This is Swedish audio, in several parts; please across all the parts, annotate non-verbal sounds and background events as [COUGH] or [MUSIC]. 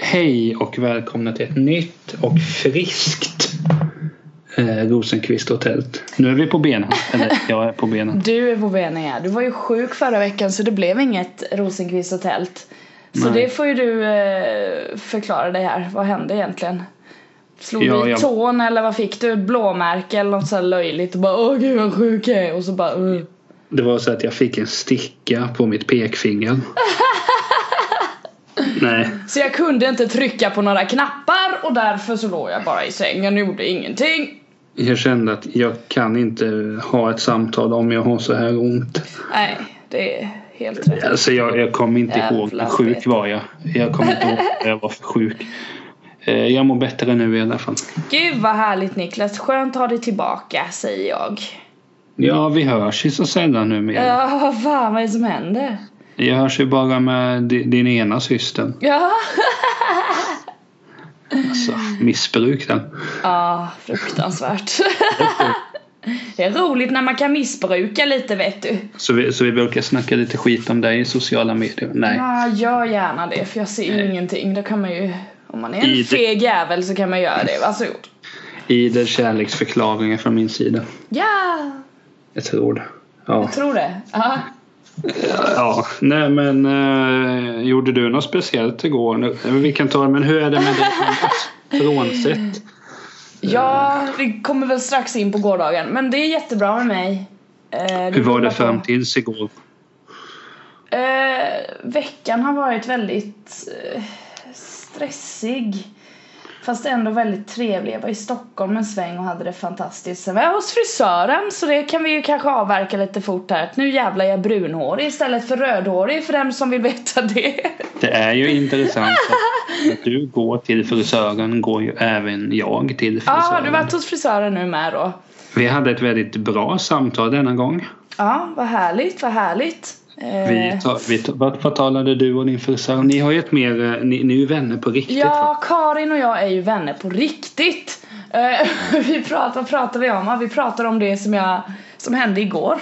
Hej och välkomna till ett nytt och friskt eh, Rosenqvist och tält. Nu är vi på benen. Eller jag är på benen. Du är på benen ja. Du var ju sjuk förra veckan så det blev inget Rosenqvist och tält. Så Nej. det får ju du eh, förklara dig här. Vad hände egentligen? Slog Ja, du i jag- tån eller vad fick du? Ett blåmärke eller något så här löjligt? Och bara åh gud vad sjuk jag är. Och så bara uh. Det var så att jag fick en sticka på mitt pekfinger. Nej, Så jag kunde inte trycka på några knappar och därför så låg jag bara i sängen och gjorde ingenting. jag kände att jag kan inte ha ett samtal om jag har så här ont. Nej, det är helt rätt. Alltså jag, jag kommer inte Jävla ihåg. Hur sjuk fet. var jag? Jag kommer inte ihåg vad jag var för sjuk. Eh, Jag mår bättre nu i alla fall. Gud vad härligt Niklas. Skönt att ha dig tillbaka säger jag. Ja, vi hörs ju så sällan numera. Ja, vad fan vad är det som händer? Jag hörs ju bara med di- din ena syster. Ja. Alltså, Mm. missbruk den. Ja, fruktansvärt. [LAUGHS] Det är roligt när man kan missbruka lite vet du. Så vi, så vi brukar snacka lite skit om dig i sociala medier. Nej. Ja, gör gärna det för jag ser ju ingenting. Då kan man ju, om man är en I det- feg jävel så kan man göra det. Varsågod. Idel kärleksförklaringar från min sida. Ja, Ett ord. Ja. tror det. Ja. ja. Nej men, eh, gjorde du något speciellt igår? Nu- eh, Vi kan ta det, men hur är det med dig? [LAUGHS] Frånsett. Eh. ja, vi kommer väl strax in på gårdagen. Men det är jättebra med mig. Eh, Hur var det bara- fram tills igår? Eh, veckan har varit väldigt eh, stressig. Fast ändå väldigt trevlig. Jag var i Stockholm en sväng och hade det fantastiskt. Sen var jag hos frisören så det kan vi ju kanske avverka lite fort här. Att nu jävlar är jag brunhårig istället för rödhårig för den som vill veta [LAUGHS] det. Det är ju intressant att att du går till frisören går ju även jag till Ja, frisören. har du varit hos frisören nu med då? Vi hade ett väldigt bra samtal denna gång. Ja, vad härligt, vad härligt. Eh, Vi ta, vi ta, vad, vad talade du och din frisör? Ni har ju ett mer, eh, ni, ni är ju vänner på riktigt. va? Ja, Karin och jag är ju vänner på riktigt. Eh, [LAUGHS] vi pratar, vad pratar vi om? Ja, Vi pratar om det som, jag, som hände igår.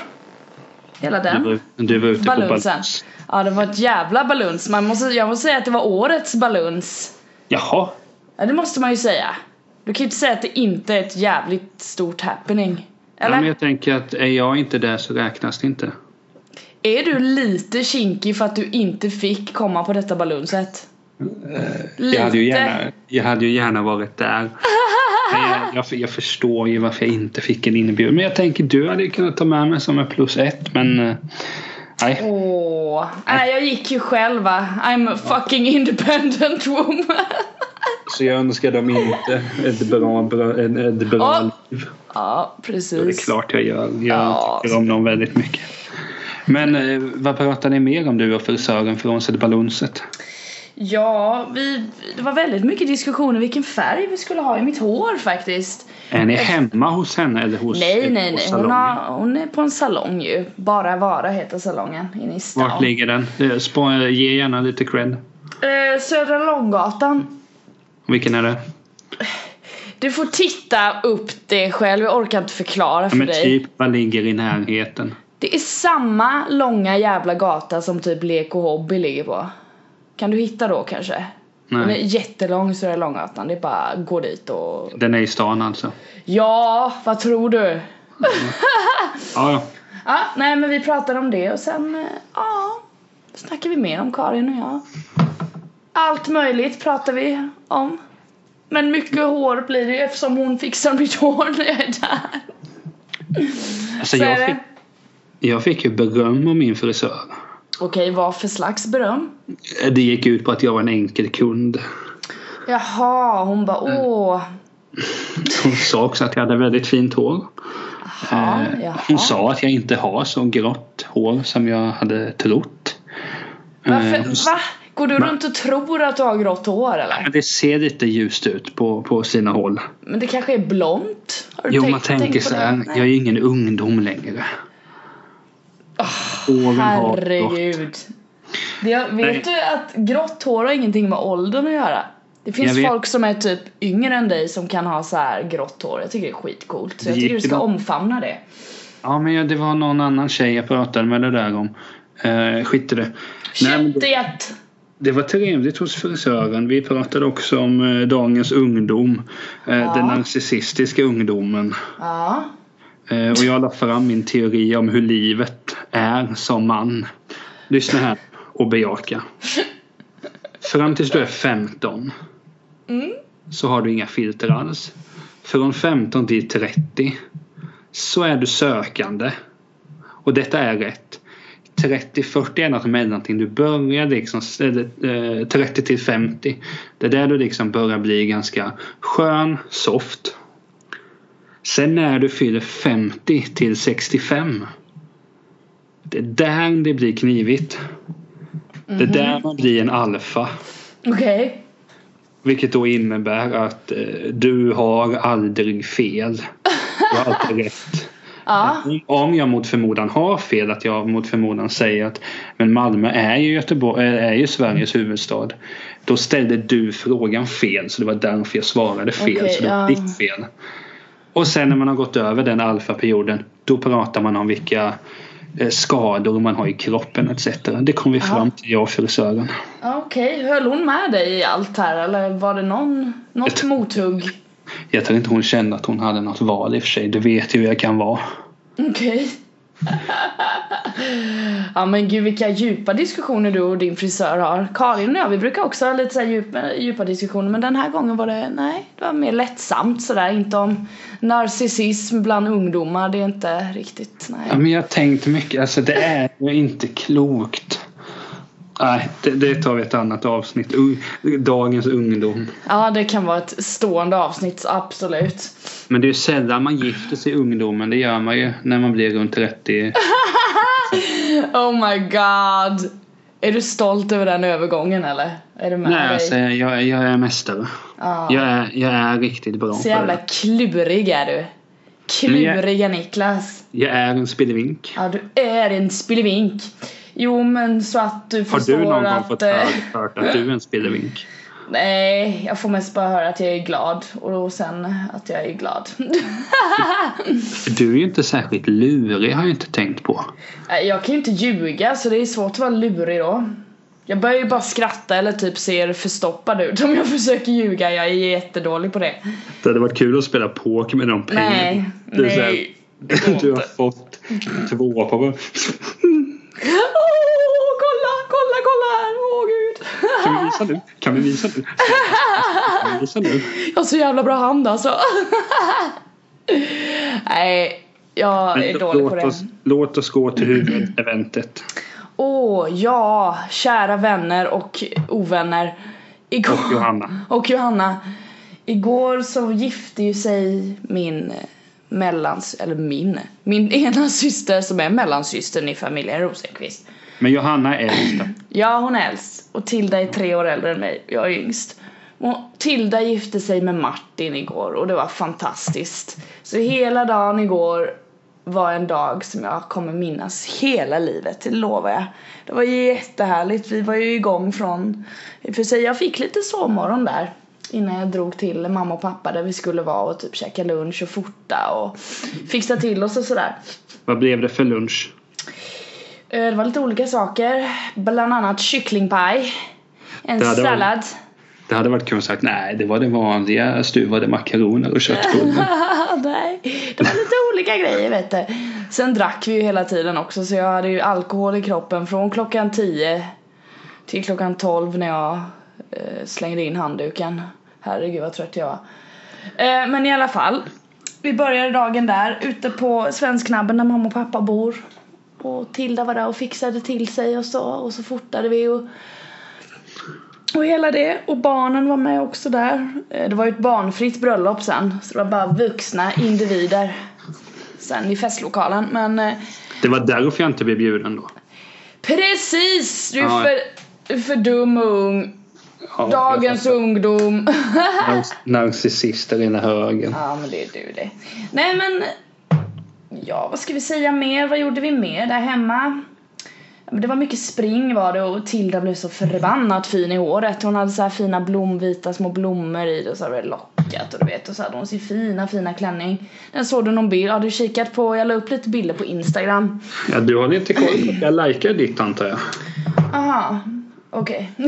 Hela Du, den. var- du var ute på Balunsen. baluns. Ja, det var ett jävla baluns. Man måste, jag måste säga att det var årets baluns. Jaha, Ja, det måste man ju säga. Du kan ju inte säga att det inte är ett jävligt stort happening. ja, Eller? men jag tänker att är jag inte där så räknas det inte. Är du lite kinkig för att du inte fick komma på detta balunset? Jag hade, ju gärna, jag hade ju gärna varit [LAUGHS] där. Men jag, jag, jag förstår ju varför jag inte fick en inbjudan. Men jag tänker du hade ju kunnat ta med mig som en plus ett men eh, nej. Åh, nej jag gick ju själv va. I'm a fucking independent woman. Så jag önskar dem inte ett bra, bra, ett, ett bra Ja. liv. Ja, Det precis. är klart jag gör. Jag Ja. tycker om dem väldigt mycket. Men eh, vad pratar ni mer om du och frisören frånsett balunset? Ja, vi, det var väldigt mycket diskussioner vilken färg vi skulle ha i mitt hår faktiskt. Är ni hemma hos henne eller hos Nej, nej, hos nej. Hon, salongen? har, hon är på en salong ju. Bara Vara heter salongen inne i stan. Vart ligger den? Eh, spa- Ge gärna lite cred. Eh, Södra Långgatan. Vilken är det? Du får titta upp det själv, jag orkar inte förklara för Ja, men dig. typ vad ligger i närheten? Det är samma långa jävla gata som typ Lek och Hobby ligger på. Kan du hitta då kanske? Den är Nej, jättelång Södra Långgatan, det är bara gå dit och... den är i stan alltså. Ja, vad tror du? Ja, ja. Ja, nej men vi pratade om det och sen, eh, ja, snackade vi mer om Karin och jag. Allt möjligt pratar vi om. Men mycket hår blir det ju eftersom hon fixar mitt hår när jag är där. Alltså, Så är jag, det. fick, jag fick ju beröm av min frisör. Okej, vad för slags beröm? Eh, Det gick ut på att jag var en enkel kund. Jaha, hon bara Mm. åh. Hon sa också att jag hade väldigt fint hår. Ja, Eh, Hon jaha. sa att jag inte har så grått hår som jag hade trott. Eh, hon Varför, sa- va? Går du runt och tror att du har grått hår eller? Men det ser lite ljust ut på, på sina håll. Men det kanske är blont? Har du Jo, tänkt- man tänker tänkt på så det? här. Nej. Jag är ju ingen ungdom längre. Åren har gått. Ah, Herregud. Det, Nej. vet du att grått hår har ingenting med åldern att göra? Det Jag finns vet. folk som är typ yngre än dig som kan ha så här grått hår. Jag tycker det är skitcoolt. Så Det jag tycker du gick ska bra. omfamna det. Ja, men jag- det var någon annan tjej jag pratade med det där om. Eh, skit i det. Nej, men Köttet! det var trevligt hos frisören. Vi pratade också om eh, dagens ungdom. Eh, Ja. Den narcissistiska ungdomen. Ja. Eh, och jag la fram min teori om hur livet är som man. Lyssna här och bejaka. Fram tills du är 15 Mm. så har du inga filter alls. Från 15 till 30 så är du sökande. Och detta är rätt. 30-40 är något mellanting. Du börjar liksom eller, eh, 30 till 50. Det är där du liksom börjar bli ganska skön, soft. Sen när du fyller 50 till 65. Det är där det blir knivigt. Det är där man blir en alfa. Okej. Vilket då innebär att eh, du har aldrig fel. Du har alltid rätt. [LAUGHS] Ja. Om jag mot förmodan har fel, att jag mot förmodan säger att men Malmö är ju, Göteborg, eh, är ju Sveriges Mm. huvudstad. Då ställde du frågan fel så det var därför jag svarade fel. Okej, så det var ja. ditt fel. Och sen när man har gått över den alfaperioden då pratar man om vilka eh, skador man har i kroppen etc. Det kom vi fram till jag och frisören. Okej. Höll hon med dig i allt här eller var det någon, något Ett- mothugg? Jag tror inte hon kände att hon hade något val i och för sig. Du vet ju hur jag kan vara. Okej. ja men gud vilka djupa diskussioner du och din frisör har. Karin och jag vi brukar också ha lite så här djupa, djupa diskussioner men den här gången var det, nej, det var mer lättsamt sådär. Inte om narcissism bland ungdomar, det är inte riktigt, nej. Ja, men jag har tänkt mycket. Alltså det är ju inte klokt. Nej, det, det tar vi ett annat avsnitt. U- Dagens ungdom. Ja det kan vara ett stående avsnitt, absolut. Men det är ju sällan man gifter sig i ungdomen. Det gör man ju när man blir runt [LAUGHS] 30. Oh my god! Är du stolt över den övergången eller? Är du med Nej, dig? alltså jag, jag är mästare. Ja. Jag är, jag är riktigt bra Så på jävla det. klurig är du. Kluriga Niklas. Jag är en spillevink. Ja, du är en spillevink. Jo, men så att du Har förstår du någon gång att... fått eh, hör- hört att du är en spillevink? nej, jag får mest bara höra att jag är glad och då sen att jag är glad. [LAUGHS] För Du är ju inte särskilt lurig har jag inte tänkt på. Nej, jag kan ju inte ljuga så det är svårt att vara lurig då. Jag börjar ju bara skratta eller typ ser förstoppad ut om jag [LAUGHS] försöker ljuga. Jag är jättedålig på det. Det hade varit kul att spela poker med de pengarna. Nej, Det är så här- nej. Du har fått två på [LAUGHS] Åh, kolla, kolla, kolla här! Åh gud! Kan vi visa nu? Kan vi visa nu? Kan vi visa nu? Jag har så jävla bra [LAUGHS] hand alltså. Nej, jag är Men dålig på låt, det. oss, låt oss gå till huvudeventet. Åh, ja, kära vänner och ovänner. Igår... Och Johanna. Och Johanna. Igår så gifte ju sig min eh, mellans... Eller min. Min ena syster som är mellansystern i familjen Rosenqvist. Men Johanna är äldst. Ja, hon är äldst och Tilda är tre år äldre än mig. Jag är yngst. Och Tilda gifte sig med Martin igår och det var fantastiskt. Så hela dagen igår var en dag som jag kommer minnas hela livet, det lovar jag. Det var jättehärligt, vi var ju igång från... I och för sig, jag fick lite sovmorgon där innan jag drog till mamma och pappa där vi skulle vara och typ käka lunch och fota och fixa till oss och sådär. Vad blev det för lunch? Eh, Det var lite olika saker. Bland annat kycklingpaj. En Det hade varit- sallad. Det hade varit kul att säga nej, det var det vanliga stuvade makaroner och köttbullar. [LAUGHS] Nej, det var lite olika grejer vet du. Sen drack vi ju hela tiden också så jag hade ju alkohol i kroppen från klockan 10 till klockan 12 när jag eh, slängde in handduken. Herregud vad trött jag var. Eh, men i alla fall. Vi började dagen där ute på Svensknabben där mamma och pappa bor. Och Tilda var där och fixade till sig och så och så fortade vi och Och hela det. Och barnen var med också där. Eh, Det var ju ett barnfritt bröllop sen. Så det var bara vuxna individer. Sen i festlokalen. Men eh, Det var därför jag inte blev bjuden då. precis! Du är Ja. för, du är för dum och ung. Ja, Dagens ungdom. [LAUGHS] nar- Narcissister i den här högen. ja men det är du det. Nej men. Ja vad ska vi säga mer? Vad gjorde vi mer där hemma? Ja, men Det var mycket spring var det och Tilda blev så förbannat fin i håret. Hon hade så här fina blomvita små blommor i det och så hade det lockat och du vet och så hade hon sin fina fina klänning. Den såg du någon bild, har du kikat på, jag la upp lite bilder på Instagram. Ja, du har inte koll på att jag likar ditt antar jag. Aha. Okej. [LAUGHS]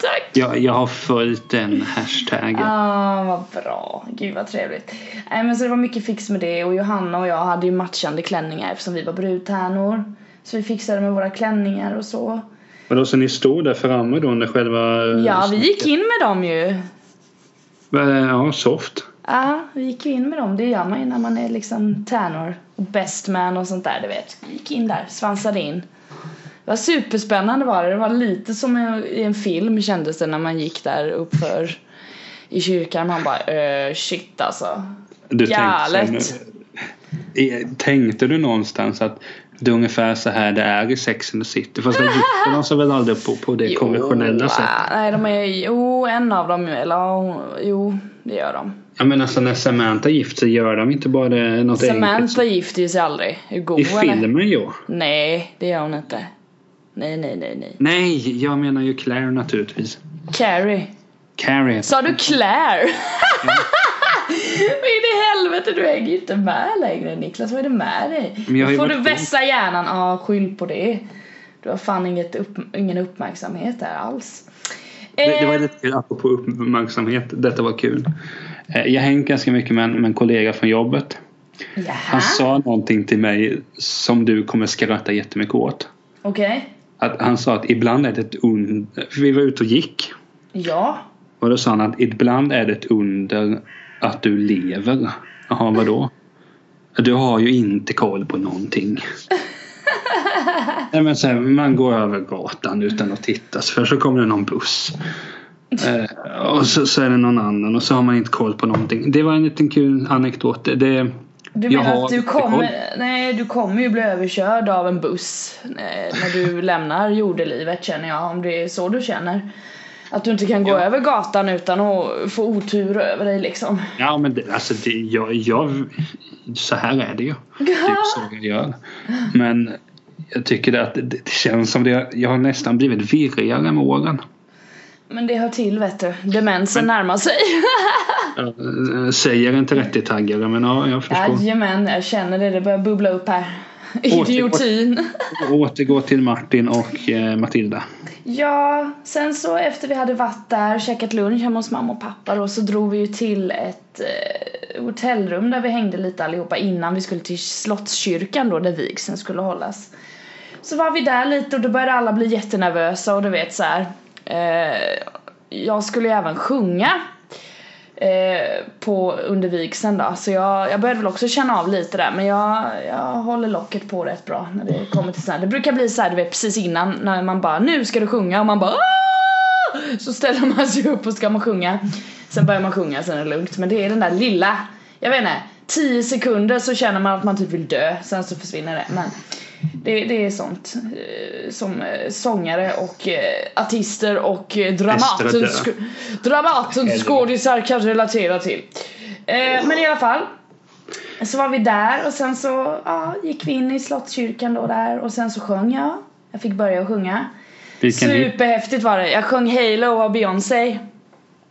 Tack! Jag, jag har följt den hashtaggen. Ah, vad bra. Gud vad trevligt. Nej men så det var mycket fix med det och Johanna och jag hade ju matchande klänningar eftersom vi var brudtärnor. Så vi fixade med våra klänningar och så. Och då så ni stod där framme då när själva... eh, Ja, vi gick in med dem ju. Ja, soft. Ja, vi gick ju in med dem. Det gör man ju när man är liksom tärnor och best man och sånt där, du vet. Vi gick in där, svansade in. Det var superspännande var det. Det var lite som i en film kändes det när man gick där uppför i kyrkan. Man bara, eh, shit alltså. Du tänkte, Galet. så nu- Eh, tänkte du någonstans att det är ungefär så här det är i Sex and the City? Fast det gifter de sig väl aldrig på, på det konventionella sättet? ah, Nej, de är, jo, en av dem, eller ja, hon- jo, det gör de. Ja men alltså när Samantha gift sig gör de inte bara det- något enkelt? Samantha gifter ju sig aldrig. Är du god I eller? filmen ja. Nej, det gör hon inte. Nej, nej, nej, nej. Nej, jag menar ju Claire naturligtvis. Carrie. Carrie heter- Sa du Claire? Vad i det helvete, du hänger ju inte med längre Niklas. Vad är det med dig? Men jag har Nu ju får du varit sjuk. vässa hjärnan. Ja, skyll på det. Du har fan inget upp, ingen uppmärksamhet där alls. Det, det var Eh, lite kul, apropå uppmärksamhet. Detta var kul. Eh, Jag hängde ganska mycket med en, med en kollega från jobbet. Jaha, Han sa någonting till mig som du kommer skratta jättemycket åt. okej. Att han sa att ibland är det ett under... för Vi var ute och gick. Ja. Och då sa han att ibland är det ett under att du lever. Jaha, vadå? Du har ju inte koll på någonting. Nej, men så här, man går över gatan utan att titta. För så kommer det någon buss. Eh, och så, så är det någon annan och så har man inte koll på någonting. Det var en liten kul anekdot. Det, det, Du Jag menar har att du inte koll. kommer, nej, du kommer ju bli överkörd av en buss eh, när [LAUGHS] du lämnar jordelivet känner jag, om det är så du känner. Att du inte kan gå Ja. över gatan utan att få otur över dig liksom. ja, men det, alltså det, jag, jag, så här är det ju. Typ Ah. så jag gör. Men jag tycker att det, det känns som det. Jag har nästan blivit virrigare med åren. [LAUGHS] Men det hör till vet du, demensen närmar sig. Eh, Säger en 30-taggare men ja, jag förstår. Jajamän, jag känner det, det börjar bubbla upp här. Åter- Idiotin. Återgår till Martin och eh, Matilda. Ja, sen så efter vi hade varit där och käkat lunch hemma hos mamma och pappa då, så drog vi ju till ett eh, hotellrum där vi hängde lite allihopa innan vi skulle till Slottskyrkan då där vigseln skulle hållas. Så var vi där lite och då började alla bli jättenervösa och du vet så här. Eh, jag skulle ju även sjunga eh, på under vigseln då så jag, jag började väl också känna av lite där men jag, jag håller locket på rätt bra när det kommer till sånt här. Det brukar bli så här, du vet precis innan när man bara nu ska du sjunga och man bara "Aah!" så ställer man sig upp och ska man sjunga. Sen börjar man sjunga sen är det lugnt men det är den där lilla, jag vet inte, 10 sekunder så känner man att man typ vill dö sen så försvinner det men det, det är sånt eh, som eh, sångare och eh, artister och eh, Estrada. dramatens Dramatens skådisar kan relatera till. Eh, men i alla fall. Så var vi där och sen så ja, gick vi in i Slottskyrkan då där och sen så sjöng jag. Jag fick börja att sjunga. Vilken hit? Superhäftigt var det. Jag sjöng Halo av Beyoncé.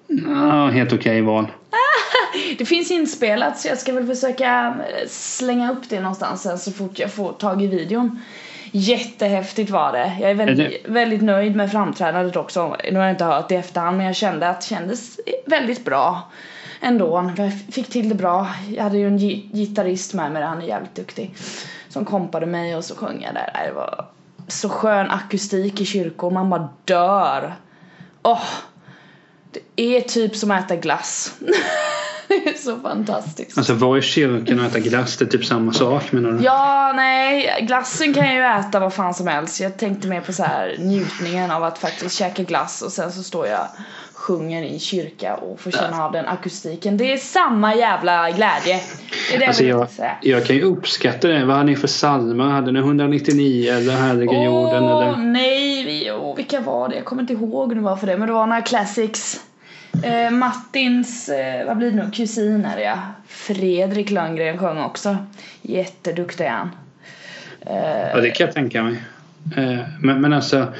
Ja, helt okej val. Det finns inspelat så jag ska väl försöka eh, slänga upp det någonstans sen så fort jag får tag i videon. Jättehäftigt var det. Jag är väldigt, väldigt nöjd med framträdandet också. Nu har jag inte hört det i efterhand men jag kände att det kändes väldigt bra ändå. Jag fick till det bra. Jag hade ju en gi- gitarrist med mig, han är jävligt duktig. Som kompade mig och så sjöng jag där. Det var så skön akustik i kyrkor, man bara dör. Åh! Det är typ som att äta glass. [LAUGHS] det är så fantastiskt. Alltså var i kyrkan och äta glass, det är typ samma sak menar du? Ja, nej, glassen kan jag ju äta vad fan som helst. Jag tänkte mer på så här njutningen av att faktiskt käka glass och sen så står jag sjunger i kyrka och får känna av den akustiken. Det är samma jävla glädje. Det är det Alltså jag jag, vill säga. jag kan ju uppskatta det. Vad hade ni för psalmer? Hade ni 199 eller Härliga jorden? Åh Eller? nej, vi, åh, vilka var det? Jag kommer inte ihåg nu varför det, men det var några classics. Eh, Mattins, eh, vad blir det nu, kusin är det ja. Fredrik Lönngren sjöng också. Jätteduktig är han. Ja, det kan jag tänka mig. Eh, Men, men alltså,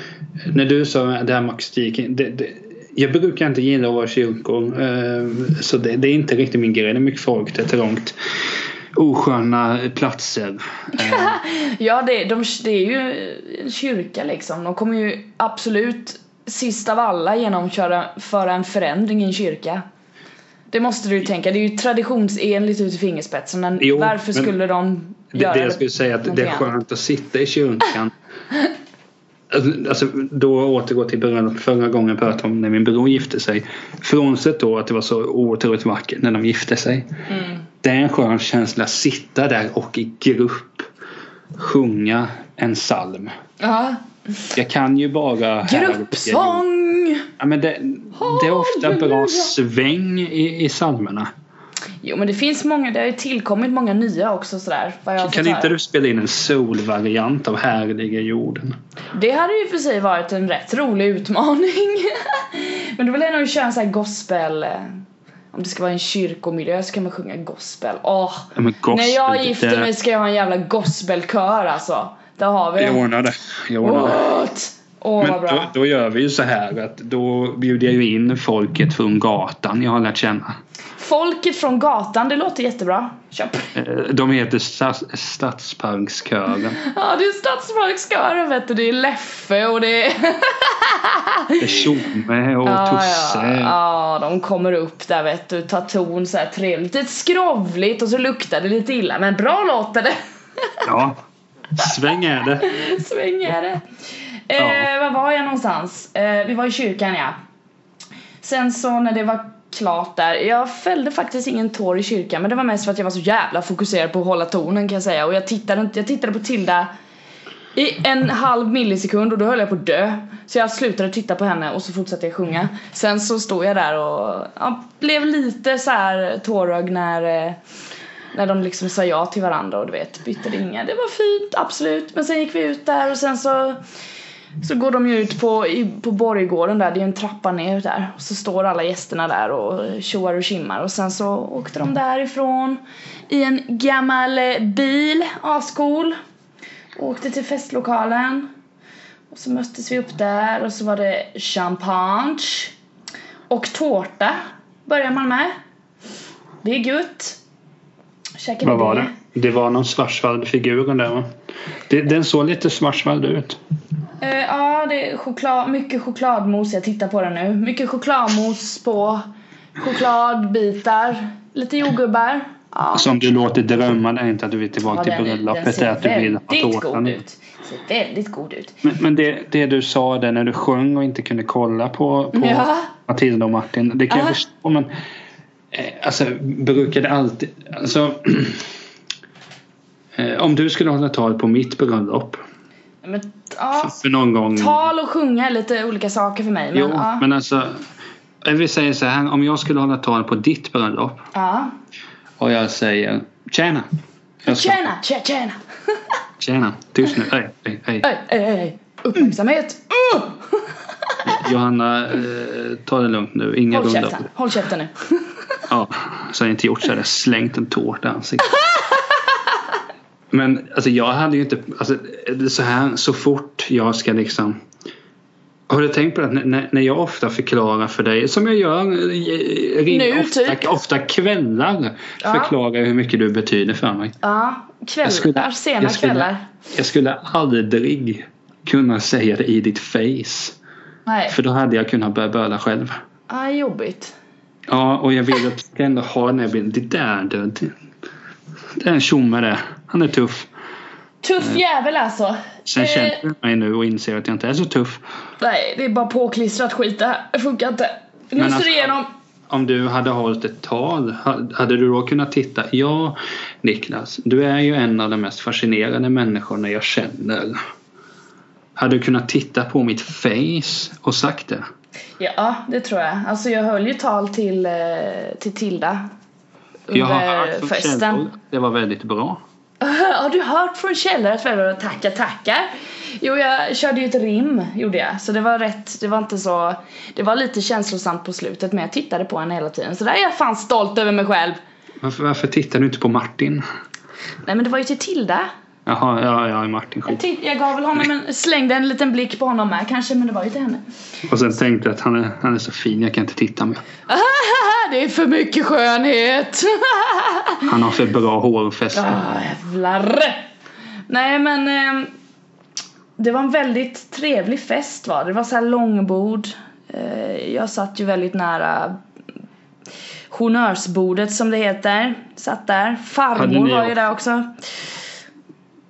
när du sa det här med akustiken. Det, det, jag brukar inte gilla att vara i kyrkor. eh, Så det, det är inte riktigt min grej. Det är mycket folk, det är trångt. osköna platser. Eh, Ja, det, de, det är ju en kyrka liksom. De kommer ju absolut sist av alla genomföra föra en förändring i en kyrka. Det måste du ju tänka. Det är ju traditionsenligt ut i fingerspetsarna. Jo, Varför men skulle de det, göra det jag skulle säga att det är någonting annat? skönt att sitta i kyrkan. Alltså, då återgår till bröllop. Förra gången pratade jag om när min bror gifte sig. Frånsett då att det var så otroligt vackert när de gifte sig. Mm. Det är en skön känsla att sitta där och i grupp sjunga en psalm. Ja. Jag kan ju bara... Gruppsång! Ja, men det, det är ofta bra sväng i, i psalmerna. Jo men det finns många, det har ju tillkommit många nya också sådär. Vad jag har Kan fått inte höra. du spela in en solvariant av Härliga jorden? Det hade ju för sig varit en rätt rolig utmaning. [LAUGHS] men då vill jag nog köra en sån här gospel... eh, Om det ska vara en kyrkomiljö så kan man sjunga gospel. Åh! Ja, men Mm, gospel, När jag det- gifter mig ska jag ha en jävla gospelkör alltså. Där har vi Jag det. ordnar det. Jag ordnar det. What? Åh vad Men då, bra. då gör vi ju så här att då bjuder jag ju in folket från gatan jag har lärt känna. Folket från gatan, det låter jättebra. Köp. [LAUGHS] Eh, De heter Stads- [LAUGHS] Stadsparkskören. Ja det är Stadsparkskören vet du, det är Leffe och det är... Det är Tjomme och Tusse. Ja, ja, de kommer upp där vet du, tar ton så här trevligt, lite skrovligt och så luktar det lite illa men bra låter det. [LAUGHS] Ja. Sväng är det. Svänger det. Eh, Ja. var var jag någonstans? Eh, vi var i kyrkan ja. Sen så när det var klart där, jag fällde faktiskt ingen tår i kyrkan men det var mest för att jag var så jävla fokuserad på att hålla tonen kan jag säga och jag tittade, inte- jag tittade på Tilda i en halv millisekund och då höll jag på att dö. Så jag slutade titta på henne och så fortsatte jag sjunga. Sen så stod jag där och ja, blev lite så här tårögd när, eh, när de liksom sa ja till varandra och du vet bytte ringar. Det var fint, absolut. Men sen gick vi ut där och sen så så går de ju ut på, i, på borggården där, det är ju en trappa ner där. Och så står alla gästerna där och tjoar och tjimmar och sen så åkte de därifrån i en gammal eh, bil, avskol. Och åkte till festlokalen. Och så möttes vi upp där och så var det champagne. Och tårta börjar man med. Det är gött. Käkar Vad var det? Det var någon svartsvall figur där va? Det, den såg lite svartsvall ut. Eh, ja, det är choklad, mycket chokladmos. Jag tittar på den nu. Mycket chokladmos på chokladbitar. Lite jordgubbar. Ja, Som du låter drömma dig inte att du vill ja, tillbaka till den- den bröllopet. ser är att du vill ha väldigt god tårtan. ut. Ser väldigt god ut. Men, men det, det du sa där när du sjöng och inte kunde kolla på, på Ja. Matilda och Martin. Det kan Ja. jag förstå men eh, alltså brukar det alltid, alltså [CLEARS THROAT] eh, om du skulle hålla tal på mitt bröllop Men, ja, för någon gång. tal och sjunga är lite olika saker för mig. Men, jo, ja, men alltså eh, vi säger så här om jag skulle hålla tal på ditt bröllop ja. och jag säger tjena. Jag ska- Tjena, tjena, tjena. Tjena, tyst nu. Hej, hej, hej. Oj, oj, oj, oj. Uppmärksamhet. Uh! Johanna, eh, ta det lugnt nu. Inga Håll lunda. käften, håll käften nu. Ja, så har jag inte gjort så hade jag slängt en tårta i ansiktet. Men alltså jag hade ju inte, alltså det är så här så fort jag ska liksom har du tänkt på det? När- När, när jag ofta förklarar för dig, som jag gör eh, ring- Nu, ofta, typ. ofta kvällar, Ja. förklarar jag hur mycket du betyder för mig. Ja, kvällar, skulle- sena jag skulle- kvällar. Jag skulle aldrig kunna säga det i ditt face, Nej, för då hade jag kunnat börja böla själv. ah, jobbigt. Ja, och jag vill att du ska ändå ha den här bilden. Det där du. Det, det är en tjomme det. Han är tuff. Mm. Tuff jävel alltså. Sen Eh, känner du mig nu och inser att jag inte är så tuff. Nej, det är bara påklistrat skit det här. Det funkar inte. Nu Men ser alltså- det igenom. Om du hade hållit ett tal, ha- hade du då kunnat titta? Ja, Niklas, du är ju en av de mest fascinerande människorna jag känner. Hade du kunnat titta på mitt face och sagt det? Ja, det tror jag. Alltså jag höll ju tal till, eh, till Tilda. Jag har hört Under från festen. källor att det var väldigt bra. [LAUGHS] Har du hört från källor att föräldrar tackar, tackar? Jo, jag körde ju ett rim, gjorde jag. Så det var rätt, det var inte så... Det var lite känslosamt på slutet, men jag tittade på henne hela tiden. Så där är jag fan stolt över mig själv. Varför, varför tittar du inte på Martin? Nej, men det var ju till Tilda. Jaha, ja, ja, Martin skit. Jag, titt- jag gav väl honom en, slängde en liten blick på honom med kanske, men det var ju till henne. [LAUGHS] Och sen tänkte jag att han är, han är så fin, jag kan inte titta mer. det är för mycket skönhet. [LAUGHS] Han har för bra hårfäste. Ja, Ah, jävlar. Nej men eh, det var en väldigt trevlig fest var det. Det var så här långbord. Eh, jag satt ju väldigt nära honnörsbordet som det heter. Satt där. Hade Farmor ni var ju också- där också.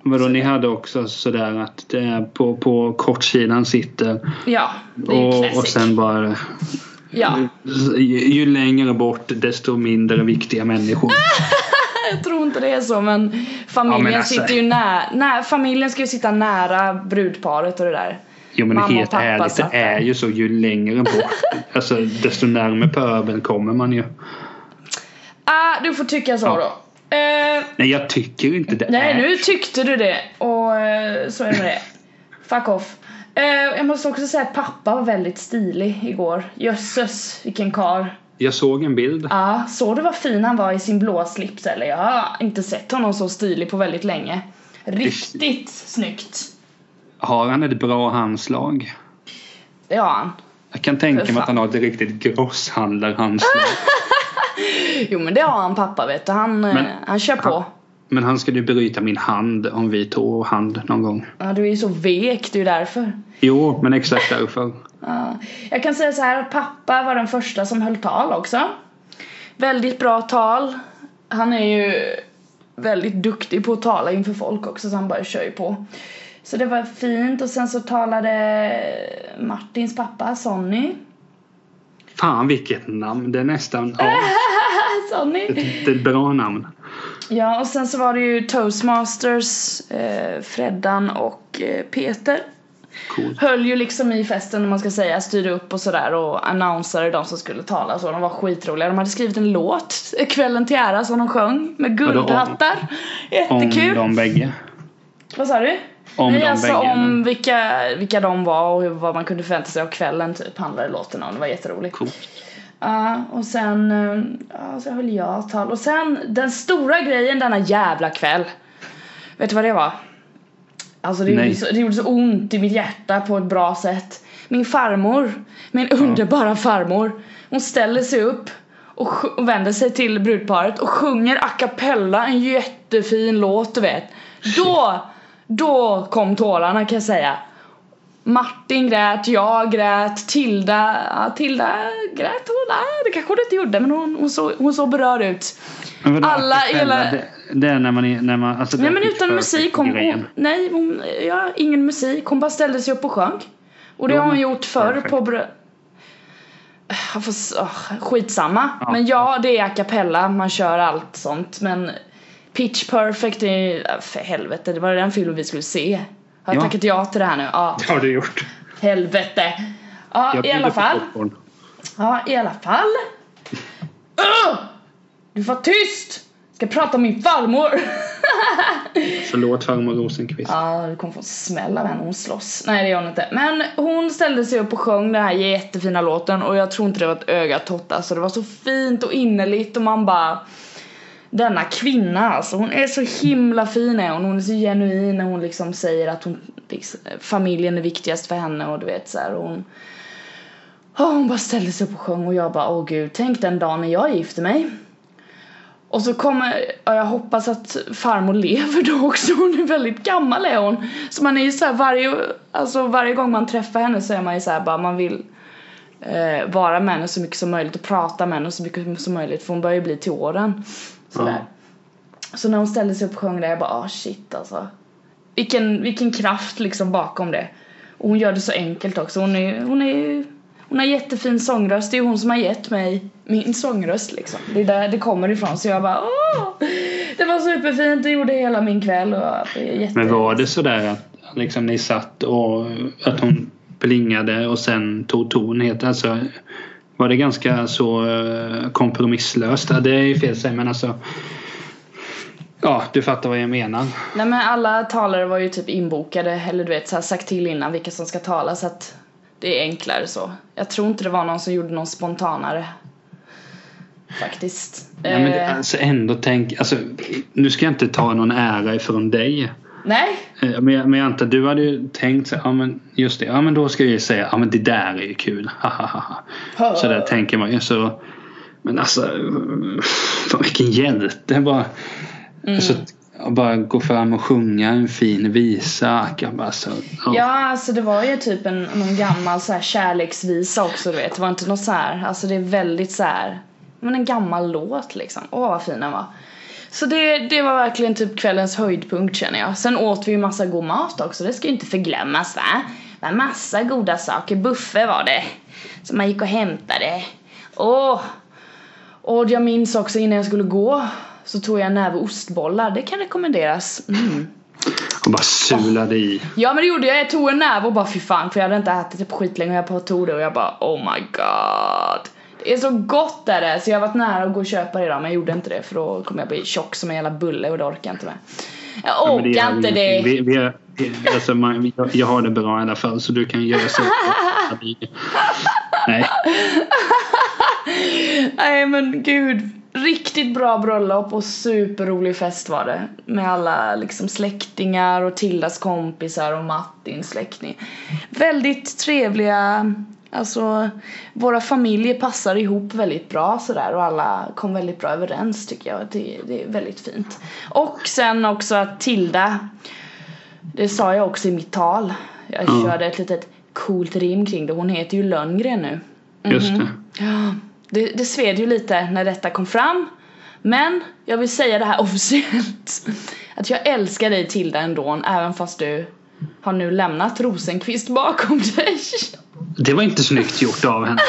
Vadå, ni hade också sådär att det är på, på kortsidan sitter Ja, det är ju och, classic. och sen bara Ja, ju, ju längre bort desto mindre viktiga människor. jag tror inte det är så men familjen Ja, men alltså- sitter ju nära, nä, familjen ska ju sitta nära brudparet och det där. Jo men Mamma och helt pappa ärligt, det satt där. är ju så ju längre bort. Alltså desto närmare pöbeln kommer man ju. Ah, du får tycka så Ja. då. Eh, Nej jag tycker inte det nej, är. nu tyckte du det och eh, så är det med det. Fuck off. Eh, jag måste också säga att pappa var väldigt stilig igår. Jösses, vilken karl. Jag såg en bild. Ja, såg du vad fin han var i sin blå slips eller? Jag har inte sett honom så stilig på väldigt länge. Riktigt snyggt. Har han ett bra handslag? Det har han. Jag kan tänka För mig fan. att han har ett riktigt grosshandlarhandslag. Jo men det har han pappa vet du. Han, eh, Men- han kör på. Men han skulle ju bryta min hand om vi tog hand någon gång. Ja, du är ju så vek, det är ju därför. Jo, men exakt därför. Ja. Jag kan säga så här att pappa var den första som höll tal också. Väldigt bra tal. Han är ju väldigt duktig på att tala inför folk också så han bara kör ju på. Så det var fint och sen så talade Martins pappa Sonny. Fan vilket namn. Det är nästan... Ja, Sonny. det är ett bra namn. Ja och sen så var det ju toastmasters, eh, Freddan och eh, Peter. Coolt. höll ju liksom i festen om man ska säga, styrde upp och sådär och annonsade de som skulle tala och så. De var skitroliga. De hade skrivit en låt, Kvällen till ära, som de sjöng med Vadå, om- guldhattar. Om Jättekul. de bägge. Vad sa du? Om Nej, de alltså bägge. om vilka, vilka de var och hur, vad man kunde förvänta sig av kvällen typ handlade låten om. Det var jätteroligt. Coolt. Ja, och sen eh, ja, så höll jag tal. Och sen den stora grejen denna jävla kväll. Vet du vad det var? Alltså det, gjorde Nej. så, det gjorde så ont i mitt hjärta på ett bra sätt. Min farmor, min underbara farmor, hon ställer sig upp och, sj- och vänder sig till brudparet och sjunger a cappella en jättefin låt du vet. Då, då kom tårarna kan jag säga. Martin grät, jag grät, Tilda, ja, Tilda grät hon? Nej, det kanske hon inte gjorde men hon, hon, såg, hon såg berörd ut. Men vadå, Alla att det hela- skälla, Det, det är när man... är- När man alltså, det Nej är men pitch utan musik, perfect hon, grejen. hon, nej, hon, ja, ingen musik, hon bara ställde sig upp och sjöng. Och det Jo, har hon men gjort förr perfekt. på brö... Ah, fast, ah, skitsamma. Men ja, det är a cappella, man kör allt sånt men Pitch Perfect är ah, för helvete, det var den filmen vi skulle se. Har jag Ja. tackat ja till det här nu? Ja, Det har du gjort. helvete. Ja, Jag i alla bjuder på fall. popcorn. Ja, i alla [LAUGHS] fall. Ugh! Du får vara tyst! Ska prata om min farmor! [LAUGHS] Förlåt farmor Rosenqvist. Ja, du kommer få en smäll av henne, hon slåss. Nej det gör hon inte. Men hon ställde sig upp och sjöng den här jättefina låten och jag tror inte det var ett öga tårta så det var så fint och innerligt och man bara denna kvinna alltså, hon är så himla fin är hon, hon är så genuin när hon liksom säger att hon, liksom, familjen är viktigast för henne och du vet så här, och hon Ja, hon bara ställde sig upp och sjöng och jag bara åh gud, tänk den dagen när jag gifter mig. Och så kommer, ja, jag hoppas att farmor lever då också, [LAUGHS] hon är väldigt gammal är hon. Så man är ju så här varje, alltså varje gång man träffar henne så är man ju så här bara man vill eh, vara med henne så mycket som möjligt och prata med henne så mycket som möjligt för hon börjar ju bli till åren. Sådär. Så när hon ställde sig upp och sjöng där jag bara ah shit alltså. Vilken, vilken kraft liksom bakom det. Och hon gör det så enkelt också. Hon är hon är ju hon har jättefin sångröst. Det är hon som har gett mig min sångröst liksom. Det är där det kommer ifrån. Så jag bara åh! Det var superfint. Det gjorde hela min kväll och det är jätte... Men var det sådär att liksom, ni satt och att hon plingade och sen tog ton helt alltså, Var det ganska så eh, kompromisslöst? Ja, Det är ju fel att säga men alltså Ja, du fattar vad jag menar. Nej men alla talare var ju typ inbokade eller du vet så här sagt till innan vilka som ska tala så att det är enklare så. Jag tror inte det var någon som gjorde någon spontanare. Faktiskt. Nej, men det, Eh, alltså ändå tänk, alltså, nu ska jag inte ta någon ära ifrån dig. nej. Eh, Men jag, men jag antar, du hade ju tänkt så här, ja men just det, ja men då ska jag ju säga, ja men det där är ju kul, ha ha ha, ha. Så där tänker man ju så. Men alltså, [LAUGHS] fan, vilken hjälte. Bara, Mm. alltså, bara gå fram och sjunga en fin visa. Jag bara, så, ja. Ja, alltså det var ju typ en någon gammal så här kärleksvisa också, du vet. Det var inte något så här, alltså det är väldigt så här, men en gammal låt liksom. Åh, vad fin den var. Så det, det var verkligen typ kvällens höjdpunkt känner jag. Sen åt vi ju massa god mat också, det ska ju inte förglömmas va? Det var massa goda saker, buffé var det. Som man gick och hämtade. Åh! Och jag minns också innan jag skulle gå så tog jag en näve ostbollar, det kan rekommenderas. Mm. Och bara sulade i. Ja men det gjorde jag, jag tog en näve och bara fy fan för jag hade inte ätit det på skitlänge och jag bara tog det och jag bara oh my god. Det är så gott är det, så jag har varit nära att gå och köpa det idag men jag gjorde inte det för då kommer jag bli tjock som en jävla bulle och det orkar jag inte med. Jag Ja, men orkar gör inte ingenting. det. Vi, vi, har- vi, alltså, man, vi- jag, jag har det bra i alla fall så du kan göra [LAUGHS] så. Nej, Nej men gud. Riktigt bra bröllop och superrolig fest var det. Med alla liksom släktingar och Tildas kompisar och Mattins släkting. Väldigt trevliga, alltså våra familjer passar ihop väldigt bra sådär och alla kom väldigt bra överens tycker jag. Det, det är väldigt fint. Och sen också att Tilda, det sa jag också i mitt tal. Jag Ja. körde ett litet coolt rim kring det. Hon heter ju Lönngren nu. just Mm. det. Ja, det, det sved ju lite när detta kom fram. Men jag vill säga det här [LAUGHS] officiellt. Att jag älskar dig Tilda ändå, även fast du har nu lämnat Rosenqvist bakom [LAUGHS] dig. Det var inte snyggt gjort av henne.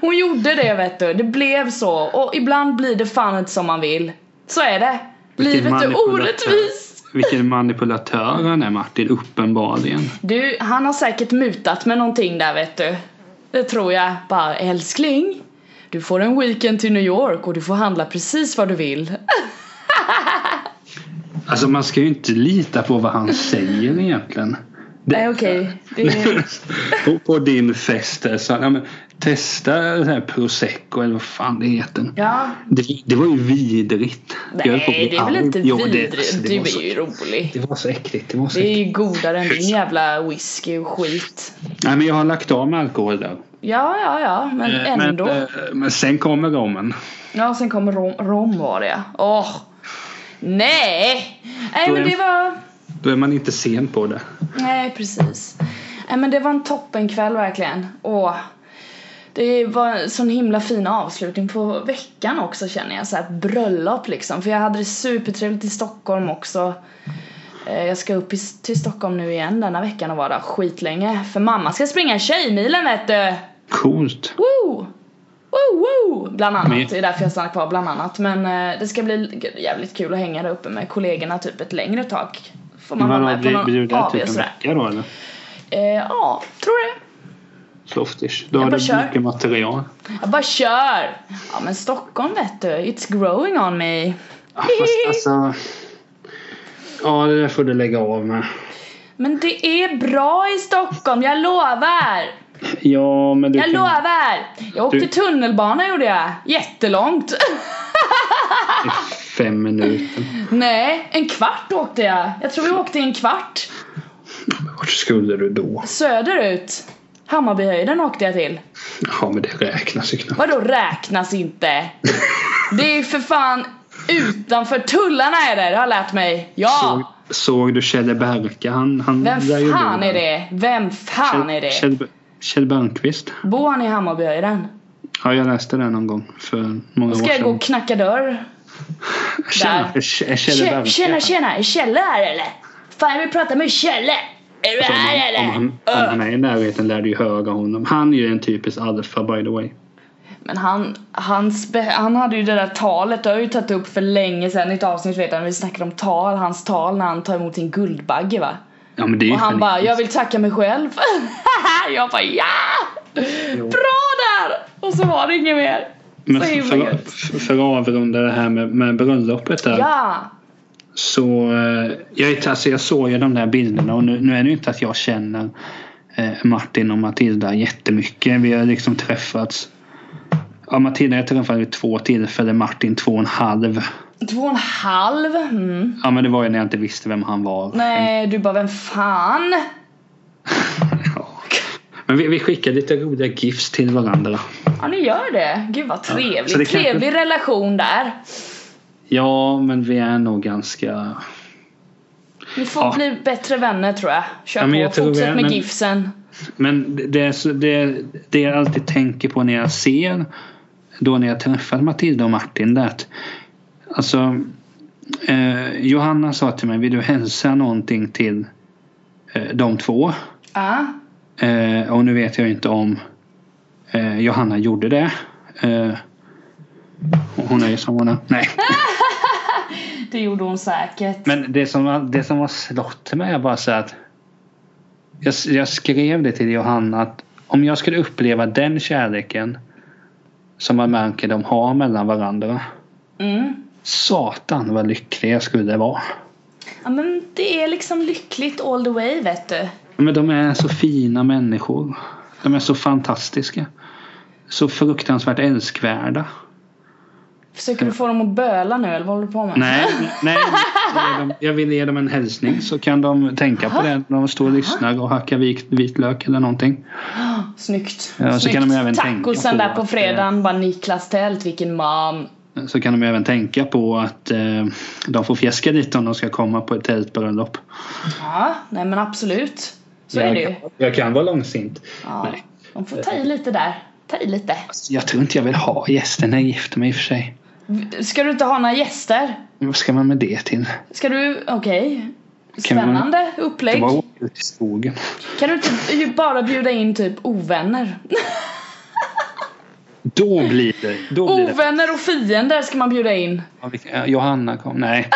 Hon gjorde det vet du, det blev så. Och ibland blir det fan inte som man vill. Så är det. Vilken Livet är manipulatör. orättvist. Vilken manipulatör han är Martin, uppenbarligen. Du, han har säkert mutat med någonting där vet du. Det tror jag. Bara älskling, du får en weekend till New York och du får handla precis vad du vill. Alltså man ska ju inte lita på vad han säger [LAUGHS] egentligen. Det- Nej okej, det, på, på din fest där, så, ja, men, testa så här prosecco eller vad fan det heter. ja. Det, det var ju vidrigt. Jag höll på att bli Nej det är väl arg. inte Jo, det- vidrigt, alltså, det du var så- är ju rolig. Det var så äckligt. Det var så Det äckligt. är ju godare än din jävla whisky och skit. Nej, men jag har lagt av med alkohol där. Ja, ja, ja, men Eh, men, ändå. eh, men sen kommer rommen. Ja, sen kom rom, rom var det ja. Åh! Nej! Nej men det var... Då är man inte sen på det. Nej, precis. Nej, men det var en toppenkväll verkligen. Åh. Det var en sån himla fin avslutning på veckan också känner jag. Så här ett bröllop liksom. För jag hade det supertrevligt i Stockholm också. Eh, Jag ska upp i, till Stockholm nu igen denna veckan och vara där skitlänge. För mamma ska springa Tjejmilen vet du! Coolt. Woo! Woo, woo! Bland annat. Men- Det är därför jag stannar kvar bland annat. Men eh, det ska bli jävligt kul att hänga där uppe med kollegorna typ ett längre tag. Får man vara Vadå, med på blir, blir du någon där AW typ och en sådär. vecka då eller? Eh, ja, tror det. Sloftish. Då Jag har bara du kör. mycket [LAUGHS] material. Jag bara kör! Ja men Stockholm vet du, it's growing on me. [LAUGHS] Ja, Fast alltså... Ja, det där får du lägga av med. Men det är bra i Stockholm, jag lovar! Ja, men du Jag kan... lovar! Jag åkte Du- tunnelbana gjorde jag, jättelångt. [LAUGHS] Fem minuter. Nej, en kvart åkte jag. Jag tror vi åkte i en kvart. Vart skulle du då? Söderut. Hammarbyhöjden åkte jag till. Ja, men det räknas ju knappt. Vadå räknas inte? Det är ju för fan utanför tullarna är det, det har jag lärt mig. Ja! Såg, såg du Kjelle Berka? Han, han Vem lär ju bo fan är där. det? Vem fan är det? Kjell, Kjell Bergqvist. Bor han i Hammarbyhöjden? Ja, jag läste den någon gång för många år Ska jag gå sedan. och knacka dörr? Tjena, Kjell Tje- Bergqvist. Tjena tjena, är Kjelle här eller? Fan jag vill prata med Kjelle! Är du Om här han, om eller? han, om Öh. han är i närheten lär du ju höga honom. Han är ju en typisk alfa by the way. Men han, hans, be- han hade ju det där talet, det har jag ju tagit upp för länge sedan i ett avsnitt vet jag, när vi snackade om tal, hans tal när han tar emot sin Guldbagge va? Ja, men det är ju Och han geni. bara, jag vill tacka mig själv. [LAUGHS] jag bara, ja! Bra där! Och så var det inget mer. Men så för, himla för, gött. för att avrunda det här med, med bröllopet där. Ja! Så eh, jag, är inte- alltså jag såg ju de där bilderna och nu, nu är det ju inte att jag känner eh, Martin och Matilda jättemycket. Vi har liksom träffats. Ja, Matilda har jag träffat vid två tillfällen, Martin två och en halv. Två och en halv. Mm. Ja men det var ju när jag inte visste vem han var. Nej, du bara, vem fan? [LAUGHS] Ja. Men vi, vi skickar lite roliga gifs till varandra. Ja, ni gör det. Gud vad trevligt. så det kanske- Trevlig relation där. Ja, men vi är nog ganska... Ni får Ja. bli bättre vänner tror jag. Kör Ja, men jag på. tror vi Fortsätt är- med men- gifsen. Men det- det, är så- det, det jag alltid tänker på när jag ser då när jag träffade Matilda och Martin det är att alltså eh, Johanna sa till mig vill du hälsa någonting till eh, de två? Ja. Eh, och nu vet jag inte om eh, Johanna gjorde det. Eh, hon är ju som hon är. Nej. Det gjorde hon säkert. Men det som, var- det som var slått till mig är bara så att jag, jag skrev det till Johanna att om jag skulle uppleva den kärleken som man märker de har mellan varandra. Mm. Satan vad lycklig jag skulle vara. Ja, men det är liksom lyckligt all the way vet du. Men de är så fina människor. De är så fantastiska. Så fruktansvärt älskvärda. Försöker du få dem att böla nu eller vad håller du på med? Nej, nej ge dem, jag vill ge dem en hälsning så kan de tänka på det när de står och lyssnar och hackar vit, vitlök eller någonting. Ah, Snyggt. Ja, så Snyggt. kan de även tänka Tacosen på där på att, eh, fredagen. Bara Niklas Tält, vilken man. Så kan de även tänka på att eh, de får fjäska lite om de ska komma på ett tältbröllop. Ja, nej men absolut. Så är jag, det ju. jag kan vara långsint. Ja, Nej. de får ta i lite där. Ta i lite. Jag tror inte jag vill ha gäster när jag gifter mig i och för sig. Ska du inte ha några gäster? Vad ska man med det till? Ska du, okej. Kan man- Spännande Det upplägg. var åka ut i skogen. Kan du inte ju bara bjuda in typ ovänner? Då blir det... Då blir det. Ovänner och fiender ska man bjuda in. Ja, vi- eh, Johanna kom. Nej.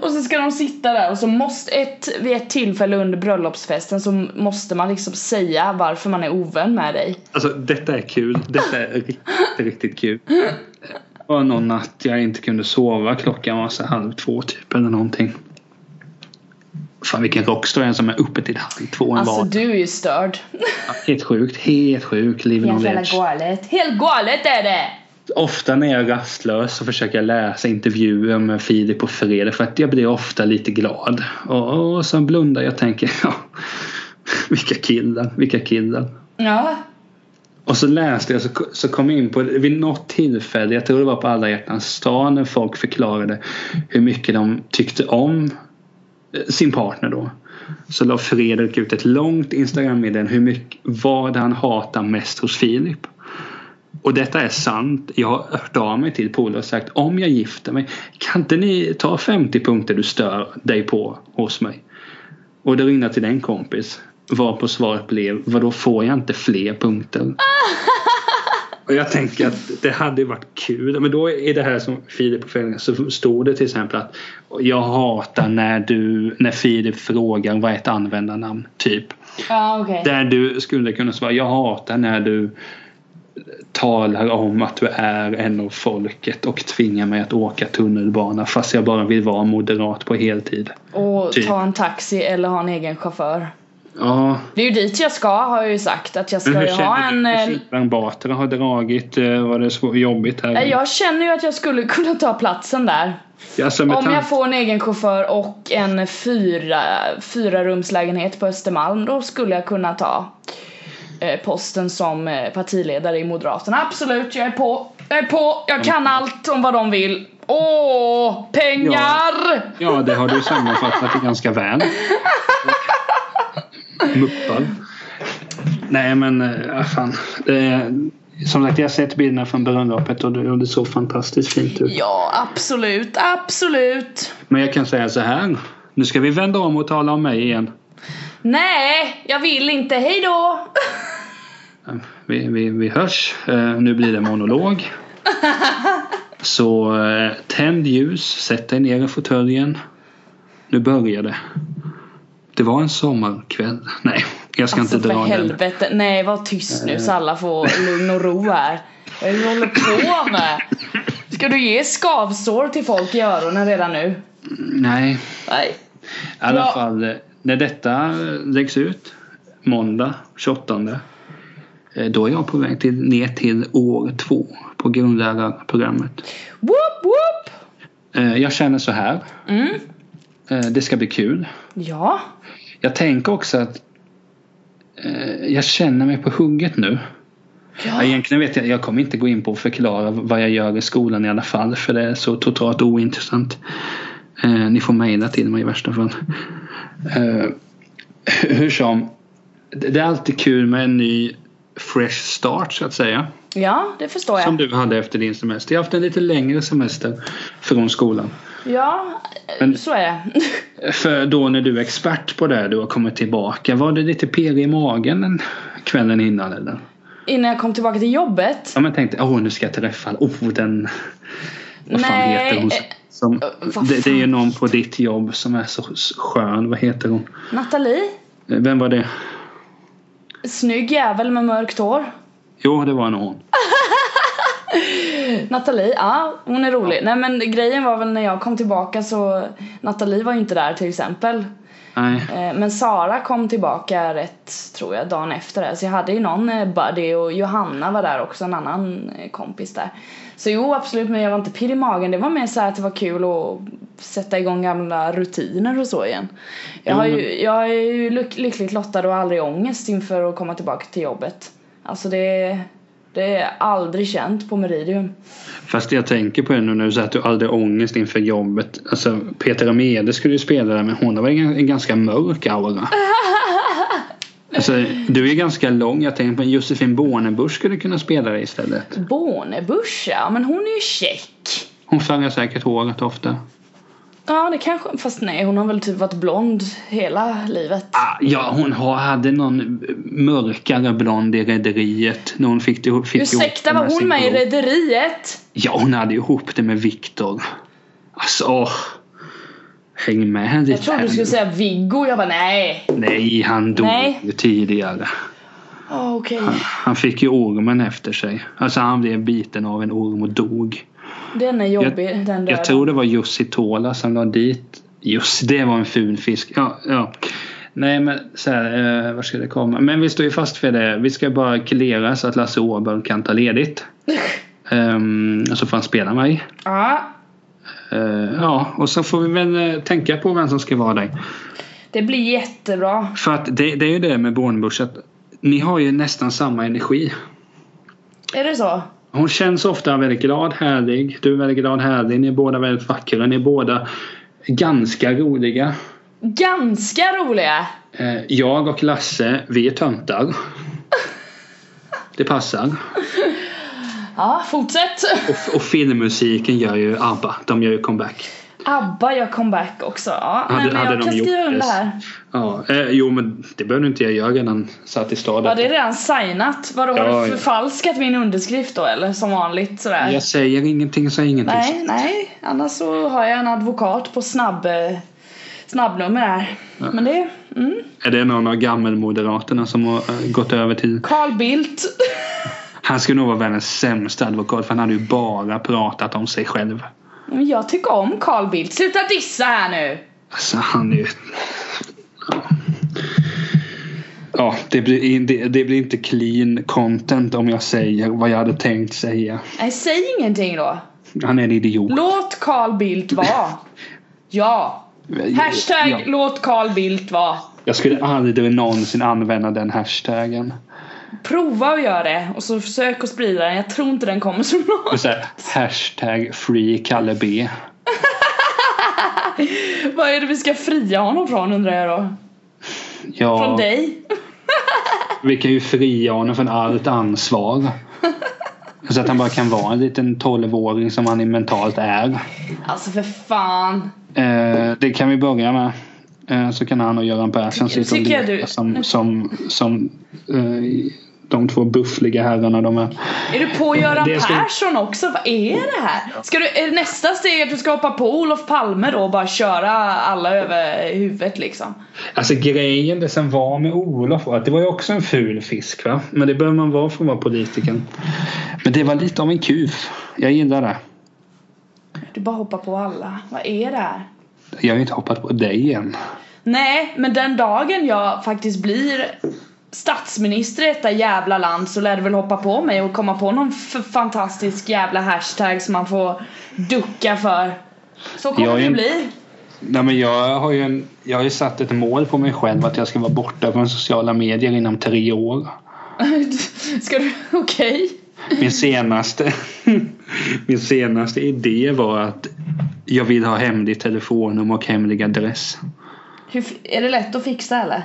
Och så ska de sitta där och så måste ett, vid ett tillfälle under bröllopsfesten så måste man liksom säga varför man är ovän med dig. Alltså detta är kul. Detta är riktigt, riktigt [LAUGHS] kul. Det var någon natt jag inte kunde sova. Klockan var så halv två typ eller någonting. Fan vilken rockstar jag är som är uppe till halv två en Alltså vardag. du är ju störd. Helt sjukt, helt sjukt. Living on the Jävla edge. galet. Helt galet är det! Ofta när jag är rastlös så försöker jag läsa intervjuer med Filip på fredag för att jag blir ofta lite glad. Och, och så blundar jag och tänker [LAUGHS] ja, vilka killar, vilka killar. Ja. Och så läste jag så, så kom jag in på vid något tillfälle, jag tror det var på alla hjärtans dag när folk förklarade hur mycket de tyckte om eh, sin partner då. Så la Fredrik ut ett långt Instagram-meddelande hur mycket, vad han hatar mest hos Filip. Och detta är sant. Jag har hört av mig till polare och sagt om jag gifter mig kan inte ni ta 50 punkter du stör dig på hos mig? Och det ringde jag till en kompis. Var på svaret blev vadå får jag inte fler punkter? Och jag tänker att det hade ju varit kul. Men då i det här som Filip på föreningen så stod det till exempel att jag hatar när du, när Filip frågar vad är ett användarnamn? Typ. Ja okej. Där du skulle kunna svara jag hatar när du talar om att du är en av folket och tvingar mig att åka tunnelbana fast jag bara vill vara moderat på heltid. Och Typ. ta en taxi eller ha en egen chaufför. Ja, Det är ju dit jag ska har jag ju sagt att jag men ska hur ju ha känner en... du? eh, Hur Shilbang Batra har dragit, eh, var det så jobbigt här? Nej, Eh, Jag känner ju att jag skulle [LAUGHS] kunna ta platsen där. alltså, med Om tanke- jag får en egen chaufför och en fyra, fyra rumslägenhet på Östermalm då skulle jag kunna ta eh, posten som eh, partiledare i Moderaterna. Absolut, jag är på. Jag är på. Jag kan Mm. allt om vad de vill. Åh, pengar! Ja, det har du sammanfattat det ganska väl. Muppar. Nej, men äh, fan. Eh, som sagt, jag har sett bilderna från bröllopet och det, och det såg fantastiskt fint ut. Ja, absolut, absolut. Men jag kan säga så här. Nu ska vi vända om och tala om mig igen. Nej, jag vill inte. Hej då! Eh, Vi, vi, vi hörs. Eh, nu blir det monolog. Så eh, tänd ljus, sätt dig ner i fåtöljen. Nu börjar det. Det var en sommarkväll. Nej, jag ska Alltså inte för dra Eh. den. helvete. Nej var tyst nu så alla får lugn och ro här. Vad är det du håller på med? Ska du ge skavsår till folk i öronen redan nu? Nej, Nej. I alla Ja. fall eh, när detta eh, läggs ut måndag 28 eh, då är jag på väg till, ner till år två på grundlärarprogrammet. Whoop whoop! Eh, Jag känner så här. Mm. eh, Det ska bli kul. Ja. Jag tänker också att eh, jag känner mig på hugget nu. Ja. Egentligen vet jag, jag kommer inte gå in på att förklara vad jag gör i skolan i alla fall för det är så totalt ointressant. Eh, ni får mejla till mig i värsta fall. Eh, hur som, det det är alltid kul med en ny fresh start så att säga. Ja, det förstår jag. Som du hade efter din semester. Jag har haft en lite längre semester från skolan. Ja, eh, Men- så är det. För då när du är expert på det här, du har kommit tillbaka. Var det lite pirrig i magen den kvällen innan eller? [LAUGHS] Innan jag kom tillbaka till jobbet. Ja men jag tänkte, åh nu ska jag träffa, oh den... Vad fan Nej, eh, heter hon? som- Som, vad det, det är ju fan? någon på ditt jobb som är så s- skön. Vad heter hon? Nathalie, Eh, Vem var det? snygg jävel med mörkt hår. Jo, det var nog hon. Nathalie, ja hon är rolig. Nej men grejen var väl när jag kom tillbaka så Nathalie var ju inte där till exempel. Nej. Eh, Men Sara kom tillbaka rätt, tror jag, dagen efter det. Så jag hade ju någon eh, buddy och Johanna var där också, en annan eh, kompis där. Så jo, absolut, men jag var inte pirr i magen. Det var mer så här att det var kul att sätta igång gamla rutiner och så igen. Jag, Jo, har ju, jag är ju lyck- lyckligt lottad och aldrig ångest inför att komma tillbaka till jobbet. Alltså det, det är aldrig känt på Meridium. Fast jag tänker på det nu när du säger att du aldrig har ångest inför jobbet. Alltså Peter Amede skulle ju spela där men hon har väl en, en ganska mörk [LAUGHS] aura. Alltså, du är ganska lång. Jag tänker på en Josefin Bornebusch skulle kunna spela dig istället. Bornebusch, ja men hon är ju tjeck. Hon färgar säkert håret ofta. Ja, det kanske, fast nej, hon har väl typ varit blond hela livet. Ah, ja, hon har, hade någon mörkare blond i Rederiet. När hon fick, det- fick Ursäkta, ihop det var hon sin med i bror. Rederiet? Ja, hon hade ju ihop det med Viktor. Alltså, åh. Häng med lite Jag trodde här du skulle nu. säga Viggo, jag bara nej. Nej, han dog Nej. ju tidigare. Ja, okej. Han fick ju ormen efter sig. Alltså han blev biten av en orm och dog. Den är jobbig, den Jag döden. tror det var Jussi Tola som la dit. Just det var en ful fisk. Ja, ja. Nej men så här, eh, var ska det komma? Men vi står ju fast vid det. Vi ska bara klera så att Lasse Åberg kan ta ledigt. Ehm, och så får han spela mig. Ja, Eh, ja, och så får vi väl eh, tänka på vem som ska vara där. det blir jättebra. För att det, det är ju det med Bornebusch att ni har ju nästan samma energi. Är det så? Hon känns ofta väldigt glad, härlig. Du är väldigt glad, härlig. Ni är båda väldigt vackra. Ni är båda ganska roliga. Ganska roliga. Eh, Jag och Lasse, vi är töntar. Det passar. Ja, fortsätt. Och, och filmmusiken gör ju ABBA. De gör ju comeback. Abba gör comeback också. Ja, Hade- nej, men hade jag de kan gjort skriva det? under här. Ja, eh, jo, men det behöver inte jag göra innan satt i Ja, staden. det är redan signat. Vadå, Ja, har du ja. förfalskat min underskrift då eller? Som vanligt sådär. Jag säger ingenting, så ingenting. Nej, nej. Annars så har jag en advokat på snabb, eh, snabbnummer här. Men det, mm. Är det någon av gammelmoderaterna som har eh, gått över till... Carl Bildt. Han skulle nog vara världens sämsta advokat för han hade ju bara pratat om sig själv. Men jag tycker om Carl Bildt. Sluta dissa här nu! Alltså han är ju... Ja. Ja, det blir, in- det, det blir inte clean content om jag säger vad jag hade tänkt säga. Nej, säg ingenting då. Han är en idiot. Låt Carl [LAUGHS] Bildt vara. Ja. Hashtag Ja. låt Carl Bildt vara. Jag skulle aldrig någonsin använda den hashtaggen. Prova att göra det och så försök att sprida den. Jag tror inte den kommer så bra. [LAUGHS] Och så här, hashtag free Kalle B. Vad är det vi ska fria honom från undrar jag då? Från Ja, dig? vi kan ju fria honom från allt [LAUGHS] ansvar. Så att han bara kan vara en liten 12-åring som han mentalt är. Alltså för fan. Eh, det kan vi börja med. Eh, så kan han och Göran Persson sitta och tycker jag leka du- som, som, som eh, de två buffliga herrarna de är. Är du på Göran Det ska- Persson också? Vad är det här? Ska du, är nästa steg att du ska hoppa på Olof Palme då och bara köra alla över huvudet liksom? Alltså grejen, det som var med Olof var att det var ju också en ful fisk va. Men det behöver man vara för att vara politiker. Men det var lite av en kuf. Jag gillar det. Du bara hoppar på alla. Vad är det här? Jag har ju inte hoppat på dig än. Nej, men den dagen jag faktiskt blir statsminister i detta jävla land så lär du väl hoppa på mig och komma på någon f- fantastisk jävla hashtag som man får ducka för. Så kommer Jag är det en- bli. Nej, men jag, har ju en, jag har ju satt ett mål på mig själv att jag ska vara borta från sociala medier inom tre år. [LAUGHS] Ska du, okej. Min senaste, [LAUGHS] min senaste idé var att jag vill ha hemlig telefonnummer och hemlig adress. Hur fi- Är det lätt att fixa eller?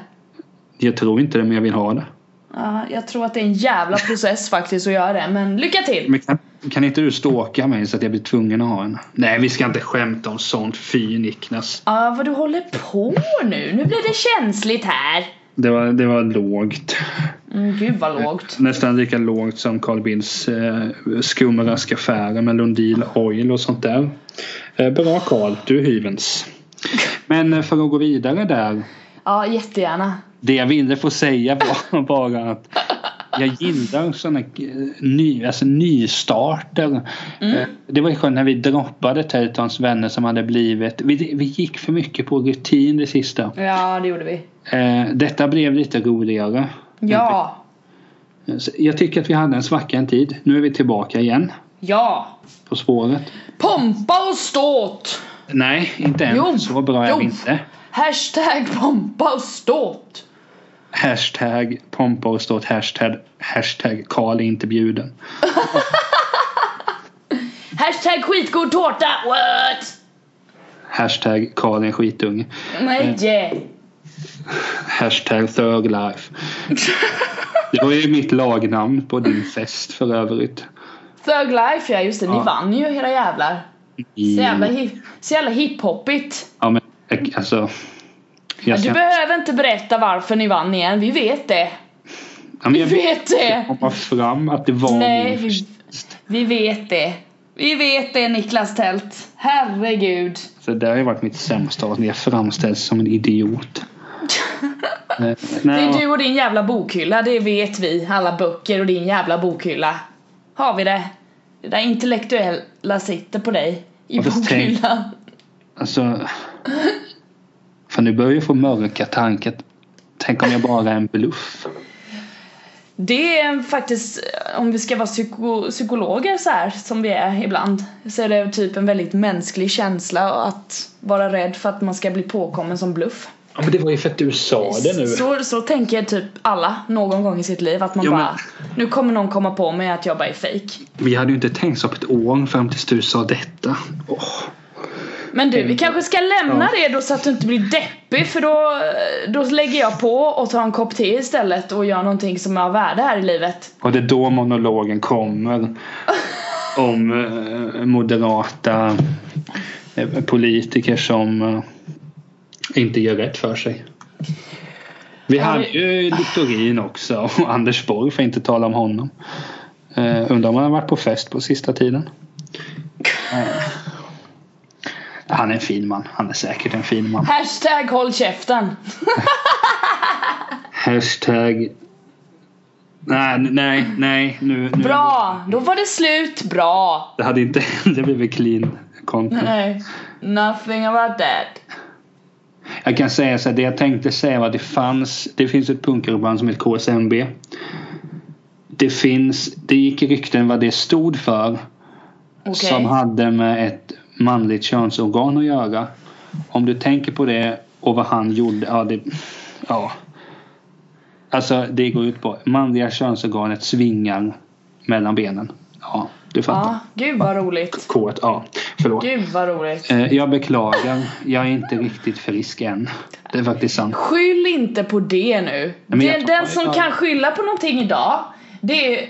Jag tror inte det men jag vill ha det. Ja, jag tror att det är en jävla process [LAUGHS] faktiskt att göra det, men lycka till! Men kan, kan inte du stalka mig så att jag blir tvungen att ha en? Nej vi ska inte skämta om sånt. Fy Niklas. Ja, vad du håller på nu? Nu blir det känsligt här! Det var, det var lågt. Mm, gud vad lågt. Nästan lika lågt som Carl Bildts eh, skumraskaffärer med Lundin Oil och sånt där. Eh, bra Carl, du är hyvens. Men eh, för att gå vidare där. Ja, jättegärna. Det jag ville få säga var [LAUGHS] bara att jag gillar sådana eh, ny, alltså nystarter. Eh, Mm. Det var ju skönt när vi droppade Teltons vänner som hade blivit. Vi, vi gick för mycket på rutin det sista. Ja, det gjorde vi. Eh, Detta blev lite roligare. Ja! Så Jag tycker att vi hade en svacka en tid. Nu är vi tillbaka igen Ja! på spåret. Pompa och ståt! Nej, inte än. Jo, Så bra är vi jo. inte. Hashtag pompa och ståt! Hashtag pompa och ståt. Hashtag, hashtag Karl är inte bjuden. Hashtag skitgod tårta! What? Hashtag Karl är en skitunge. Mm. Nej! Hashtag thug [LAUGHS] life. Det var ju mitt lagnamn på din fest för övrigt. Thug Life ja, just det. Ni Ja. vann ju era jävlar. I, Så jävla, hip, så jävla hiphoppigt. ja, men, jag- alltså, jag, Du ska- behöver inte berätta varför ni vann igen, vi vet det. ja, men Vi jag vill vet det! komma fram att det var min Nej, vi, vi vet det. Vi vet det Niklas Tält. Herregud. Så det har ju varit mitt sämsta avsnitt. Jag framställs som en [LAUGHS] idiot. Eh, Det Nej, är du och din jävla bokhylla, det vet vi. Alla böcker och din jävla bokhylla. Har vi det? Det där intellektuella sitter på dig. I Ja, fast bokhyllan. Alltså... För nu börjar jag få mörka tankar. Tänk om jag bara är en bluff. Det är faktiskt, om vi ska vara psyko- psykologer så här som vi är ibland, så är det typ en väldigt mänsklig känsla att vara rädd för att man ska bli påkommen som bluff. Ja, men det var ju för att du sa Så, så tänker typ alla någon gång i sitt liv att man Ja, men- bara, nu kommer någon komma på mig att jag bara är fake. Vi hade ju inte tänkt så på ett år fram tills du sa detta. Åh. Men du, vi kanske ska lämna det då så att du inte blir deppig för då, då lägger jag på och tar en kopp te istället och gör någonting som är av värde här i livet. Och det är då monologen kommer. Om eh, moderata eh, politiker som eh, inte gör rätt för sig. Vi hade ju Littorin också och Anders Borg för att inte tala om honom. Eh, undrar om han har varit på fest på sista tiden. Eh, han är en fin man. Han är säkert en fin man. Hashtag håll käften! Hashtag... Nej, nej, nej. Nu, nu. Bra! Då var det slut, bra! Det hade inte... [LAUGHS] Det blev väl clean content. Nej, nothing about that. Jag kan säga så här, det jag tänkte säga var att det fanns, det finns ett punkerband som heter KSMB. Det finns, det gick rykten vad det stod för Okej. som hade med ett manligt könsorgan att göra. Om du tänker på det och vad han gjorde, ja det, ja. Alltså det går ut på, manliga könsorganet svingar mellan benen. Ja, du fattar. Ja, gud vad roligt. K, ja, förlåt. Gud vad roligt. Eh, Jag beklagar, jag är inte riktigt frisk än. Det är faktiskt sant. Skyll inte på det nu. men jag Den, tar- den som jag- kan skylla på någonting idag, det är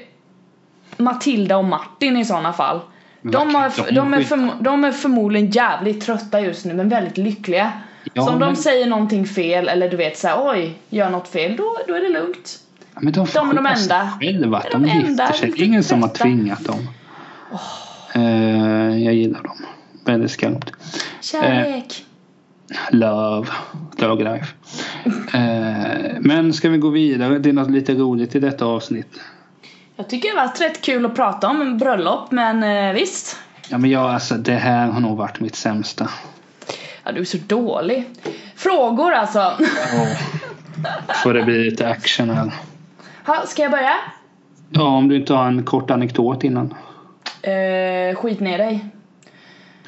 Matilda och Martin i sådana fall. De, vad kan har, de de, är skylla? förmo- de är förmodligen jävligt trötta just nu men väldigt lyckliga. Ja, så om de men- säger någonting fel eller du vet såhär oj, gör något fel, då, då är det lugnt. Ja, Men de, får De är de skylla sig enda. Själva, att Det är de, de gifter enda, sig. Det lite är ingen som har trötta. tvingat dem. Eh, jag gillar dem. Väldigt skarpt. Kärlek. Love. Love life. Eh, men ska vi gå vidare? Det är något lite roligt i detta avsnitt. Eh. Jag tycker det har varit rätt kul att prata om en bröllop men eh, visst. Ja, men jag, alltså, det här har nog varit mitt sämsta. Ja, du är så dålig. Frågor alltså. Får det bli lite action här. [LAUGHS] Ha, ska jag börja? Ja, om du inte har en kort anekdot innan. Eh, skit ner dig.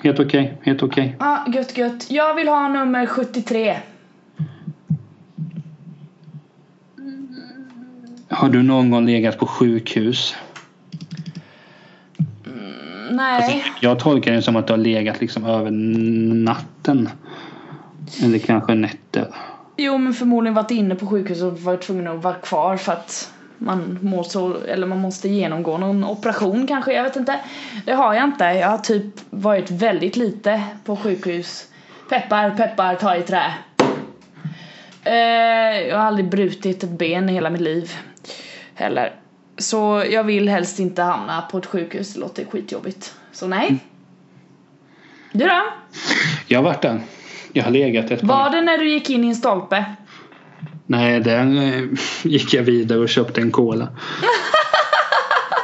Helt okej, helt okej. Ja, gött gött. Jag vill ha nummer 73. Har du någon gång legat på sjukhus? Nej. Jag tolkar det som att du har legat liksom över natten. Eller kanske nätter. Jo men förmodligen varit inne på sjukhus och varit tvungen att vara kvar för att man mår så, eller man måste genomgå någon operation kanske, jag vet inte. Det har jag inte. Jag har typ varit väldigt lite på sjukhus. Peppar, peppar, ta i trä. Eh, jag har aldrig brutit ett ben i hela mitt liv. Heller. Så jag vill helst inte hamna på ett sjukhus, det låter skitjobbigt. Så nej. Du då? Jag har varit där. Jag har legat ett par Var det när du gick in i en stolpe? Nej, den eh, gick jag vidare och köpte en cola.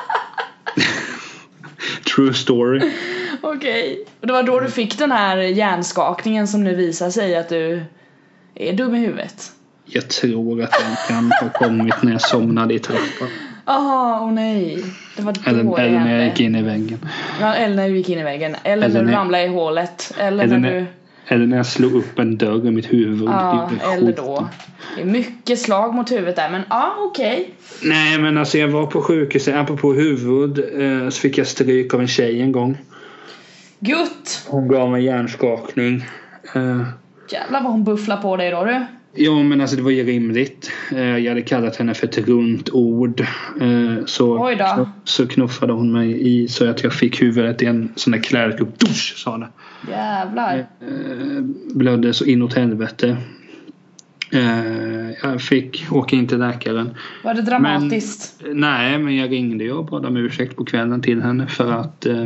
[LAUGHS] True story. Okej. Och det var Mm. då du fick den här hjärnskakningen som nu visar sig att du är dum i huvudet? Jag tror att den kan ha kommit när jag somnade i trappan. Jaha, åh nej. Det var då Eller, det eller när jag hände. gick in i väggen. Ja, eller när du gick in i väggen. Eller, Eller när du när- ramlade i hålet. Eller, Eller när när- du... Eller när jag slog upp en dörr i mitt huvud. Ja, Det gjorde eller skit. då. Det är mycket slag mot huvudet där men ja, okej. Nej, men alltså jag var på sjukhuset. Apropå huvud eh, så fick jag stryk av en tjej en gång. Gutt! Hon gav mig hjärnskakning. Eh, Jävlar vad hon bufflar på dig då du. Ja men alltså det var ju rimligt. Eh, Jag hade kallat henne för ett runt ord. Eh, Så, Oj då. kno- så knuffade hon mig i så att jag fick huvudet i en sån där klärkupp. Dusch sa det. Jävlar. Eh, Blödde så inåt helvete. Eh, Jag fick åka in till läkaren. Var det dramatiskt? [LAUGHS] Eh, Nej men jag ringde ju och bad om ursäkt på kvällen till henne för att eh,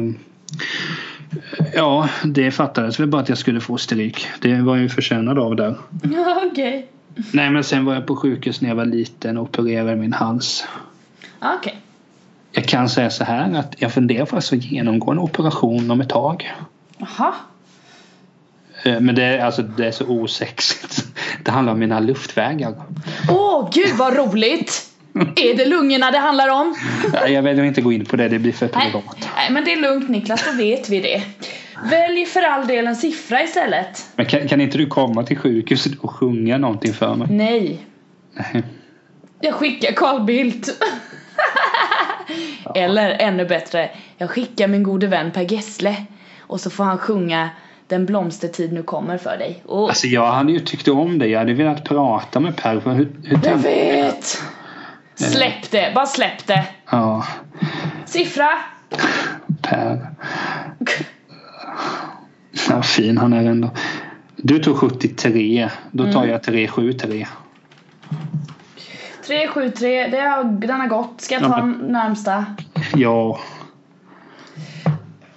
Ja, det fattades väl bara att jag skulle få stryk. Det var jag ju förtjänad av där. Ja, okej. Nej men sen var jag på sjukhus när jag var liten och opererade min hals. Ja, Okej. Jag kan säga så här att jag funderar på att genomgå en operation om ett tag. Jaha. Eh, Men det är, alltså, det är så osexigt. [LAUGHS] Det handlar om mina luftvägar. Åh gud vad roligt! Är det lungorna det handlar om? Nej, Jag väljer inte gå in på det, det blir för Nej. privat. Nej men det är lugnt Niklas, då vet vi det. Välj för all del en siffra istället. Men kan, kan inte du komma till sjukhuset och sjunga någonting för mig? Nej. Nej. Jag skickar Carl Bildt. Eller ännu bättre, jag skickar min gode vän Per Gessle. Och så får han sjunga Den blomstertid nu kommer för dig. Och Alltså jag hade ju tyckt om det. Jag hade velat prata med Per. för Hur, hur jag tänk- vet! Släpp det, bara släpp det. ja, Siffra! Per. Ja, fin han är ändå. Du tog 73. Då tar jag 373. 373, det har, den har gått. Ska jag ta Ja, den närmsta? Ja.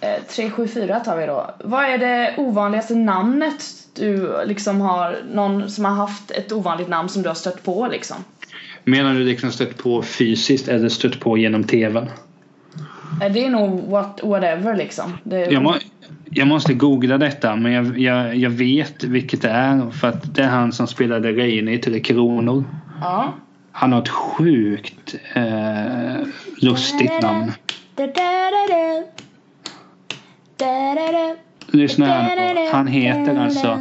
Eh, 374 tar vi då. Vad är det ovanligaste namnet du liksom har, någon som har haft ett ovanligt namn som du har stött på liksom? Menar du liksom stött på fysiskt eller stött på genom tvn? Eh, Det är nog what, whatever liksom. Det, Jag, må, jag måste googla detta men jag, jag, jag vet vilket det är för att det är han som spelade Reine i Tre Kronor. Ja. Han har ett sjukt eh, lustigt namn. Lyssna här nu på. Han heter alltså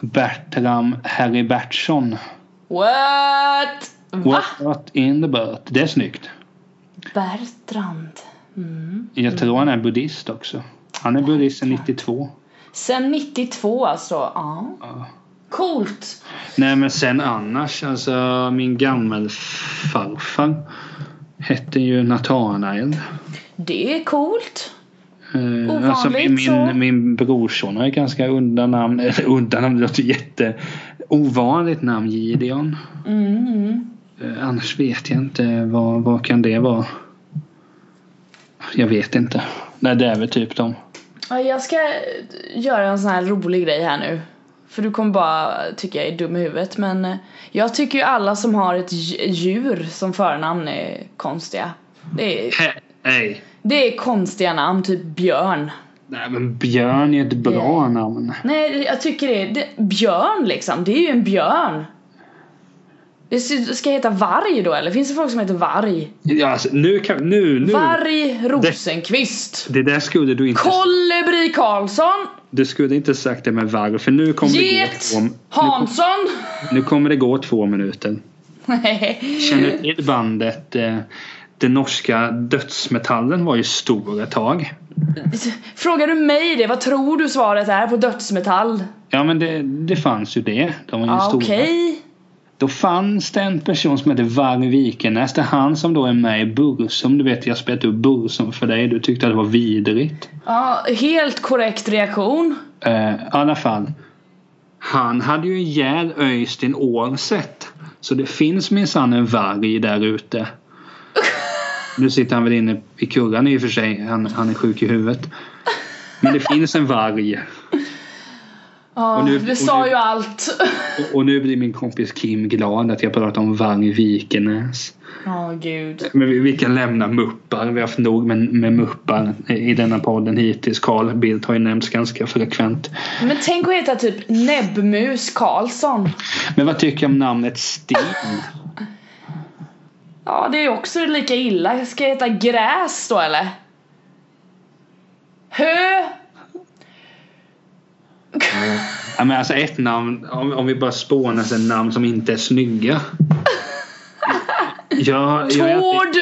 Bertram Harry Bertsson. What? Va? What's not in the boat? Det är snyggt. Bertrand. Mm. Jag tror han är buddhist också. Han är buddhist sedan 92. Sen 92 alltså. Ja. Ja. Coolt. Nej men sen annars alltså min gammelfarfar hette ju Nathanael. Det är coolt. Eh, alltså min, Ovanligt så. min, min brorson har ju ganska udda namn. [LAUGHS] Eller udda namn, det låter jätte ovanligt namn Gideon. Mm, Mm. Eh, annars vet jag inte vad, vad kan det vara. Jag vet inte. Nej det är väl typ de. Ja, Jag ska göra en sån här rolig grej här nu. För du kommer bara tycka jag är dum i huvudet men eh, jag tycker ju alla som har ett dj- djur som förnamn är konstiga. Det är, He- Nej. det är konstiga namn, typ björn. Nej men Björn är ett bra namn. Nej, jag tycker det. det björn liksom, det är ju en björn. Det ska heta varg då eller? Finns det folk som heter varg? Ja, alltså, nu kan... Nu, nu. Varg Rosenqvist. Det där skulle du inte... Kolibri Karlsson. Du skulle inte sagt det med varg för nu kommer Get det gå... två- Hansson. [LAUGHS] Nu kommer det gå två minuter. Känner du till bandet? Eh, den norska dödsmetallen var ju stor ett tag. Frågar du mig det? Vad tror du svaret är på dödsmetall? Ja men det, det fanns ju det. De var ju Ja, stora. Okej. Då fanns det en person som hette Varg Vikenäs. Det är han som då är med i Bursum. Du vet jag spelade upp Bursum för dig. Du tyckte att det var vidrigt. Ja, helt korrekt reaktion. Eh, I alla fall. Han hade ju ihjäl Öystein Årset. Så det finns minsann en varg där ute. Nu sitter han väl inne i kurran i och för sig. Han, han är sjuk i huvudet. Men det finns en varg. Ja, Och nu- du och sa nu- ju allt. [LAUGHS] Och, och nu blir min kompis Kim glad att jag pratar om varg Vikenäs. Ja, gud. Men vi, vi kan lämna muppar. Vi har haft nog med, med muppar i denna podden hittills. Carl Bildt har ju nämnts ganska frekvent. Men tänk att heta typ Näbbmus Karlsson. Men vad tycker jag om namnet Stig? Ja, det är ju också lika illa. Ska jag heta gräs då eller? Hö! Ja, men alltså ett namn, om, om vi bara spånar sen namn som inte är [LAUGHS] snygga. Jag, jag, jag, Tord!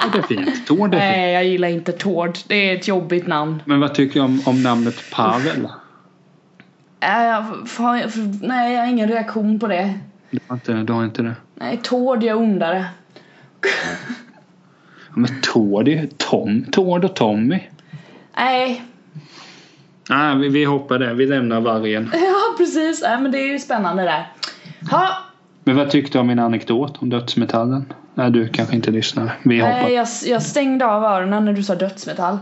Tord är fint. Tord är fint. [LAUGHS] Nej, jag gillar inte Tord. Det är ett jobbigt namn. Men vad tycker jag om, om namnet Pavel? Äh, jag, fan, jag, nej, jag har ingen reaktion på det. Du har inte, du har inte det? Nej, Tord jag ondare. Ja, men Tord, är ju Tom, Tord och Tommy. Nej, Nej, vi, vi hoppar det. Vi lämnar vargen. [LAUGHS] ja precis. Nej, men det är ju spännande där. Ha, Men vad tyckte du om min anekdot om dödsmetallen? Nej, du kanske inte lyssnar. Vi hoppar. nej, eh, jag, jag stängde av öronen när du sa dödsmetall.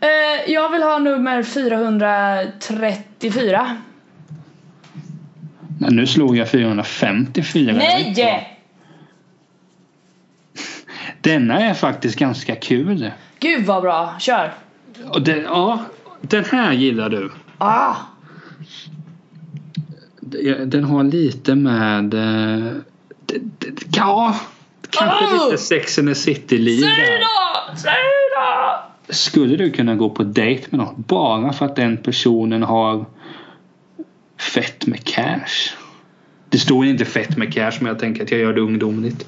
Eh, jag vill ha nummer 434. Nej, nu slog jag 454. Nej! Denna är faktiskt ganska kul. Gud vad bra, kör! Och den, ja, den här gillar du. Ah! Den har lite med... eh, d- d- Ja, kanske Oh! lite Sex and the City-liv Säg där. då! Säg då! Skulle du kunna gå på dejt med någon bara för att den personen har fett med cash? Det står inte fett med cash men jag tänker att jag gör det ungdomligt.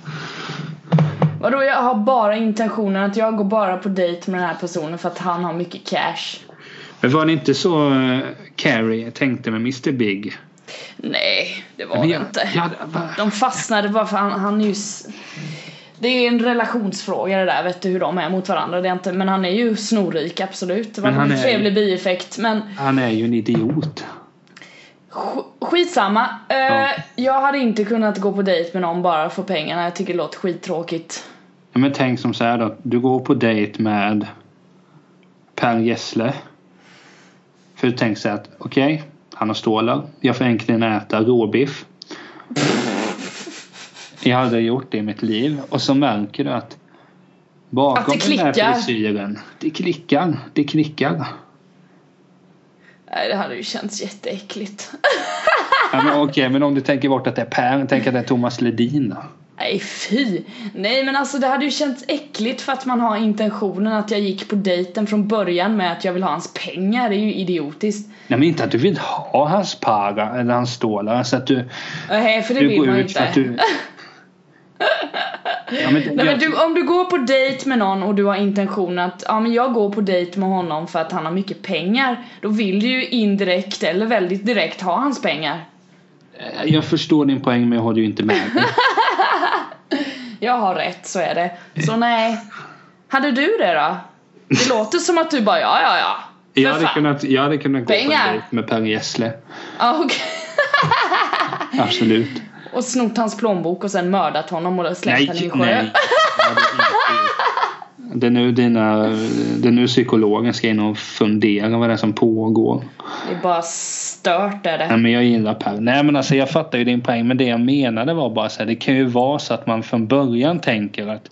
Vadå jag har bara intentionen att jag går bara på dejt med den här personen för att han har mycket cash. Men var det inte så eh, Carrie tänkte med Mr Big? Nej, det var Men det jag, inte. jag, va? De fastnade bara för han, han är ju... s- Det är en relationsfråga det där, vet du hur de är mot varandra. Det är inte, men han är ju snorrik, absolut. Det var Men han en är- trevlig bieffekt. Men Han är ju en idiot. sk- skitsamma. Eh, Ja. Jag hade inte kunnat gå på dejt med någon bara för pengarna. Jag tycker det låter skittråkigt. Ja, Men tänk som så här då. Du går på dejt med Per Gessle. För du tänker så här att okej, han har stålar. Jag får äntligen äta råbiff. Jag hade gjort det i mitt liv. Och så märker du att bakom Att det den klickar. här frisyren. Det klickar. Det klickar. Nej, det hade ju känts jätteäckligt. Ja, men okej, men om du tänker bort att det är Per. Tänk att det är Thomas Ledin då. Nej fy! Nej men alltså det hade ju känts äckligt för att man har intentionen att jag gick på dejten från början med att jag vill ha hans pengar, det är ju idiotiskt. Nej men inte att du vill ha hans para eller hans stålar. Så att du, Nej Eh, för det du vill går man ju ut inte. för att [LAUGHS] du... Ja, men, Nej, men jag- du, om du går på dejt med någon och du har intentionen att ja, men jag går på dejt med honom för att han har mycket pengar Då vill du ju indirekt eller väldigt direkt ha hans pengar Jag förstår din poäng men jag håller ju inte [LAUGHS] med. dig. Jag har rätt, så är det [LAUGHS] Så nej Hade du det då? Det låter som att du bara ja ja ja För Jag hade fan. kunnat, jag hade kunnat gå på Pengar. en dejt med Per Gessle. Ja, okej. Absolut. Och snott hans plånbok och sen mördat honom och slängt Nej, honom i nej. en sjö. Jag hade inte gjort Det Det är nu dina, det är nu psykologen ska in och fundera vad det är som pågår. Det är bara stört är det. Nej men jag gillar Per. Nej men alltså jag fattar ju din poäng men det jag menade var bara så här, det kan ju vara så att man från början tänker att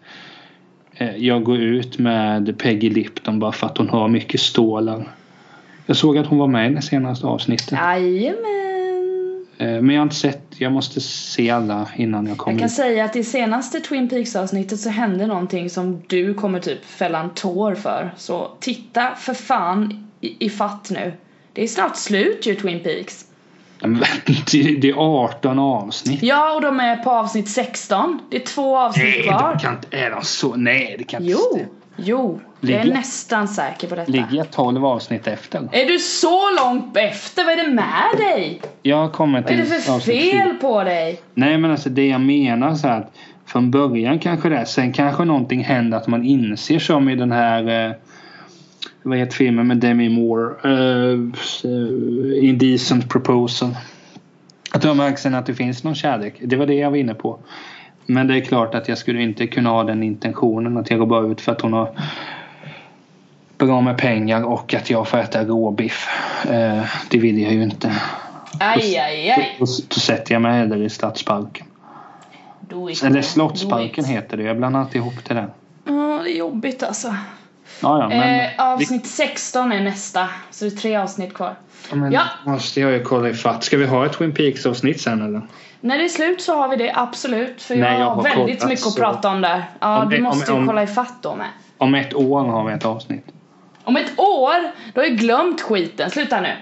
eh, jag går ut med Peggy Lipton bara för att hon har mycket stålar. Jag såg att hon var med i det senaste avsnittet. Jajamän. Eh, Men jag har inte sett, jag måste se alla innan jag Jag kommer. kan säga att i senaste Twin Peaks avsnittet så hände någonting som du kommer typ fälla en tår för. Så titta för fan i, i fatt nu. Det är snart slut ju Twin Peaks. [LAUGHS] Det- Det är 18 avsnitt. Ja, och de är på avsnitt 16. Det är två avsnitt Nej, de kvar. kan inte, är de så? Nej, det kan inte Jo, stämma. jo. Jag är Ligger- nästan säker på detta. Ligger jag 12 avsnitt efter? Är du så långt efter? Vad är det med dig? Jag kommer Vad till är det för avsnitt fyra. fel på dig? Nej men alltså det jag menar så här att från början kanske det, sen kanske någonting händer att man inser som i den här eh, vad heter filmen med Demi Moore? Eh, Indecent proposal. Att de märker sen att det finns någon kärlek. Det var det jag var inne på. Men det är klart att jag skulle inte kunna ha den intentionen att jag går bara ut för att hon har bra med pengar och att jag får äta råbiff. Eh, det vill jag ju inte. Aj, aj, aj. Då, då sätter jag mig hellre i Stadsparken. Do it. Eller Do Slottsparken it. heter det. Jag blandar alltid ihop det där. Ja, det är jobbigt alltså. Ja, ja, men, eh, avsnitt 16 är nästa. Så det är tre avsnitt kvar. ja, men ja. måste jag ju kolla ifatt. Ska vi ha ett Twin Peaks avsnitt sen eller? När det är slut så har vi det, absolut. För jag, Nej, jag har har väldigt kollat, mycket att så- prata om där. Ja, Om du det- måste om- ju om- kolla ifatt då med. Om ett år har vi ett avsnitt. Om ett år, då har jag glömt skiten. Sluta nu.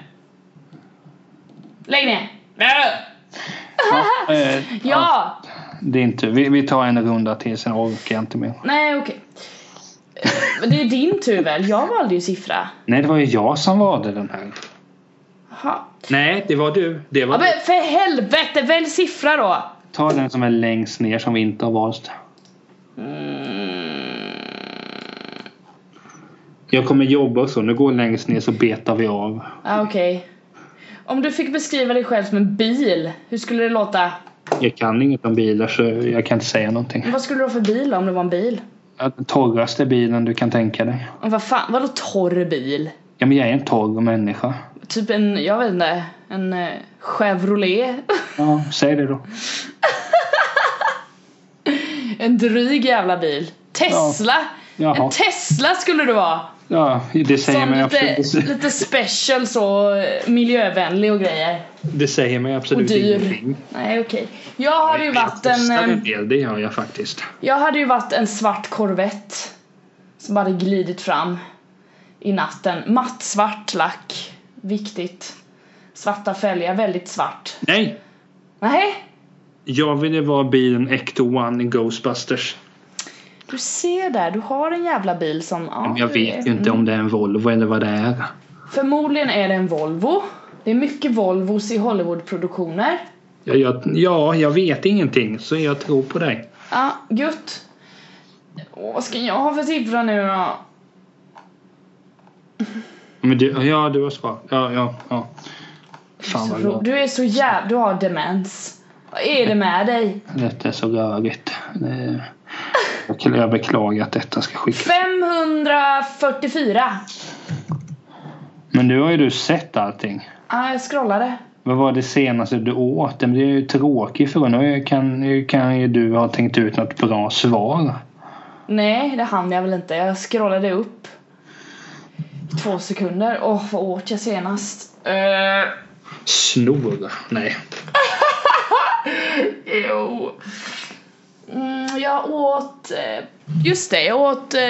Lägg ner. Ja, [LAUGHS] eh, Ja! det är inte. Vi, vi tar en runda till sen orkar jag inte mer. Nej, okej. Eh, Men det är din tur väl? Jag valde ju siffra. Nej, det var ju jag som valde den här. Jaha. Nej, det var du. Det var Ja, men för helvete, välj siffra då! Ta den som är längst ner som vi inte har valt. Mm. Jag kommer jobba så. Nu går längst ner så betar vi av. Ah, Okej. Om du fick beskriva dig själv som en bil, hur skulle det låta? Jag kan inget om bilar så jag kan inte säga någonting. Vad skulle du ha för bil om det var en bil? Ja, Den torraste bilen du kan tänka dig. Och vad fan, vadå torr bil? Ja, men jag är en torr människa. Typ en, jag vet inte, en eh, Chevrolet? [LAUGHS] Ja, säg det då. en dryg jävla bil? Tesla? Ja. Jaha. En Tesla skulle du vara! Ja, det säger, Som mig lite, [LAUGHS] absolut, lite special så, eh, miljövänlig och grejer. det säger mig Och absolut dyr. ingenting. Nej okej. Jag hade ju varit en... Jag testar eh, en del, det gör jag faktiskt. Jag hade ju varit en svart korvett som hade glidit fram i natten. Matt svart lack. Viktigt. Svarta fälgar, väldigt svart. Nej! Nej, Jag ville vara bilen Ecto-1 i Ghostbusters. du ser där, du har en jävla bil som... Ja, Men jag du vet är- ju inte om det är en Volvo eller vad det är. Förmodligen är det en Volvo. Det är mycket Volvos i Hollywoodproduktioner. Jag, jag, ja, jag vet ingenting så jag tror på dig. Ja, gött. Åh, vad ska jag ha för siffra nu då? Men du, ja, du har svarat. Ja, ja, ja. Fan vad bra. Du är så jävla... Du har demens. Vad är det med dig? Detta är så rörigt. Det- Jag kan- jag beklagar att detta ska skickas. 544. Men nu har ju du sett allting. Ja, Ah, jag scrollade. Vad var det senaste du åt? Det är ju tråkigt för nu kan, nu kan ju du ha tänkt ut något bra svar. Nej, det hann jag väl inte. Jag scrollade upp. I Två sekunder. Åh, vad åt jag senast? Eh, Snor? Nej. jo. Mm, jag åt... eh, Just det, jag åt eh,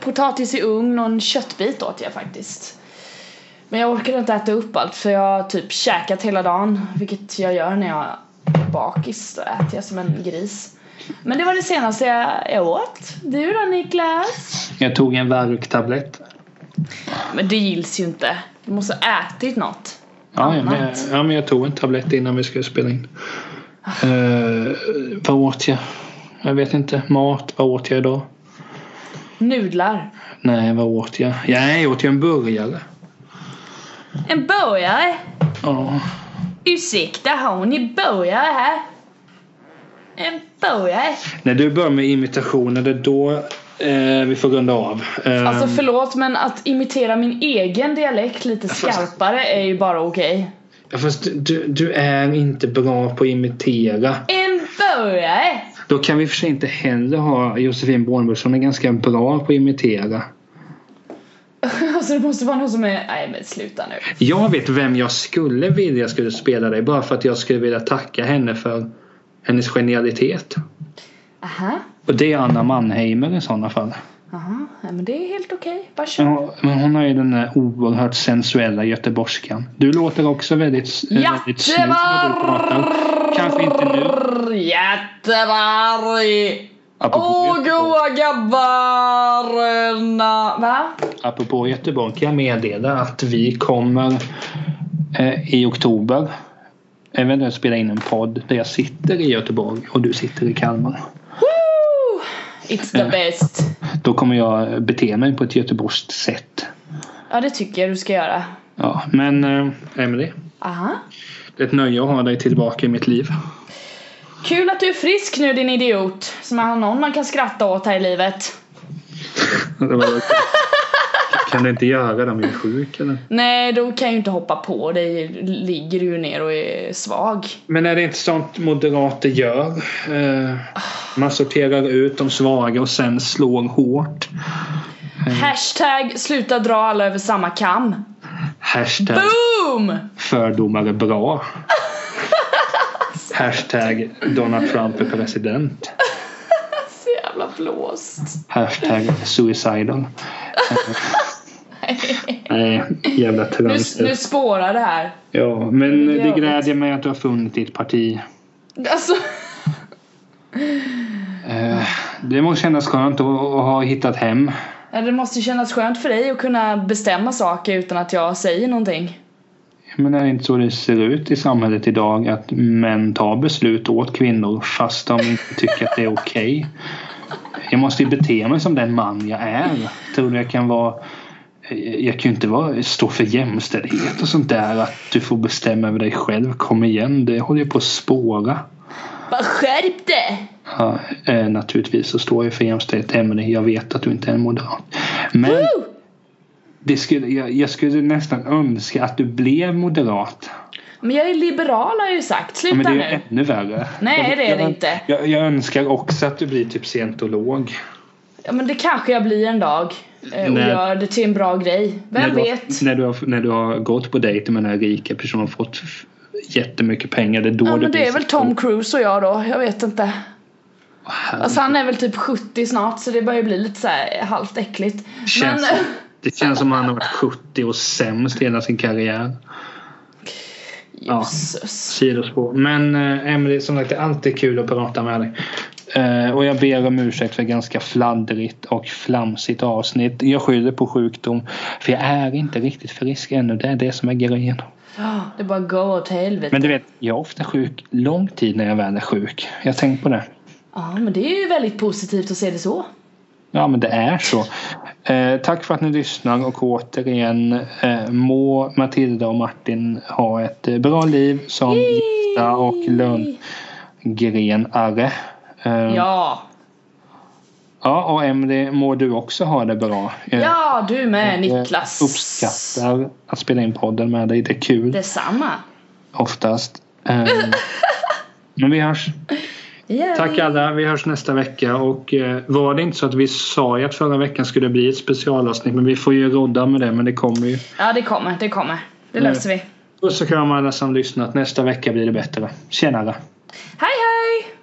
potatis i ugn och en köttbit åt jag faktiskt. Men jag orkade inte äta upp allt för jag har typ käkat hela dagen. Vilket jag gör när jag är bakis. Då äter jag som en gris. Men det var det senaste jag, jag åt. Du då Niklas? Jag tog en värktablett. Men det gills ju inte. Du måste ha ätit något. Ja, ja, men, jag- Annat. ja, men jag tog en tablett innan vi skulle spela in. Eh, vad åt jag? Jag vet inte. Mat. Vad åt jag idag? Nudlar. Nej, vad åt jag? Nej, jag åt ju en burgare. En burgare? Ja. Ursäkta, har ni burgare här? En burgare? När du börjar med imitationer, det är då eh, vi får runda av. Eh, Alltså förlåt men att imitera min egen dialekt lite skarpare är ju bara okej. Ja, fast du- du, du är inte bra på att imitera. En burgare? [LAUGHS] Då kan vi i och för sig inte heller ha Josefin Bornebusch. Hon är ganska bra på att imitera. alltså det måste vara någon som är, nej men sluta nu. Jag vet vem jag skulle vilja skulle spela dig bara för att jag skulle vilja tacka henne för hennes genialitet. Aha, Och det är Anna Mannheimer i sådana fall. aha, ja, men det är helt okej. Bara kör. Ja, men hon har ju den där oerhört sensuella göteborgskan. Du låter också väldigt, väldigt snygg när du pratar. Kanske inte nu. Göteborg! Göteborg! Apropå, Åh Göteborg, goa gabbarna! Va? apropå Göteborg kan jag meddela att vi kommer eh, i oktober eventuellt spela in en podd där jag sitter i Göteborg och du sitter i Kalmar. Woo! It's the best! Då kommer jag bete mig på ett göteborgskt sätt. Ja det tycker jag du ska göra. Ja, men eh, Emelie, Aha. det är ett nöje att ha dig tillbaka i mitt liv. [LAUGHS] Kul att du är frisk nu din idiot. Som har någon man kan skratta åt här i livet. Det var väl- kan du inte göra det om jag är sjuk eller? Nej, då kan jag ju inte hoppa på dig. Ligger du ju ner och är svag. Men är det inte sånt moderater gör? Eh, man sorterar ut de svaga och sen slår hårt. Hashtag sluta dra alla över samma kam. Hashtag Boom! fördomar är [LAUGHS] bra. Hashtag Donald Trump är president. Så jävla blåst. Hashtag [LAUGHS] suicidal. Nej, jävla Nu, nu trönster. spårar det här. Ja, men det är det jobbigt. glädjer mig att du har funnit ditt parti. Alltså, [LAUGHS] Eh, Det måste kännas skönt att att ha hittat hem. ja, det måste kännas skönt för dig att kunna bestämma saker utan att jag säger någonting. Men är det inte så det ser ut i samhället idag? Att män tar beslut åt kvinnor fast de inte tycker att det är okej. Jag måste ju bete mig som den man jag är. Tror du jag kan vara... Jag kan ju inte vara, stå för jämställdhet och sånt där. Att du får bestämma över dig själv. Kom igen, det håller ju på att spåra. Bara skärp dig! Ja, eh, naturligtvis så står jag för jämställdhet, Emelie. Jag vet att du inte är en moderat. Men Woo! det skulle, jag, jag skulle nästan önska att du blev moderat. Men jag är liberal har jag ju sagt. Ja, Sluta men det är ju nu. ännu värre. Nej, det är det jag, inte. Jag, jag önskar också att du blir typ scientolog. Ja, men det kanske jag blir en dag. eh, Och Nej. gör det till en bra grej. när Vem du, vet? har- När du, har, när du har gått på dejter med den här rika personen och fått f- jättemycket pengar. Det är då Ja, du men blir det är väl Tom Cruise och jag då. Jag vet inte. scientolog. Alltså han är väl typ 70 snart så det börjar ju bli lite så här halvt äckligt. Känns [LAUGHS] Men, Det känns som att han har varit 70 och sämst hela sin karriär. Ja. Jesus. Sidospår. Men eh, Emily, som sagt det är alltid kul att prata med dig. Eh, och jag ber om ursäkt för ganska fladdrigt och flamsigt avsnitt. Jag skyller på sjukdom. För jag är inte riktigt frisk ännu. Det är det som är grejen. Ja, Det är bara go åt helvete. Men du vet, jag är ofta sjuk lång tid när jag väl är sjuk. Jag har tänkt på det. Ja, men det är ju väldigt positivt att se det så. Ja, men det är så. Eh, tack för att ni lyssnar och återigen eh, må Matilda och Martin ha ett eh, bra liv som gifta och lönngrenare. Eh, ja. Ja. ja, och Emily, må du också ha det bra. Eh, Ja, du med Niklas. Jag uppskattar att spela in podden med dig. Det är kul Detsamma. oftast. Eh, [LAUGHS] men vi hörs. Yeah. Tack alla, vi hörs nästa vecka och eh, var det inte så att vi sa ju att förra veckan skulle bli ett specialavsnitt men vi får ju rodda med det men det kommer ju. Ja, det kommer, det kommer. Det Mm. löser vi. Puss och kram alla som lyssnat, nästa vecka blir det bättre. Tjenare! Hej, hej!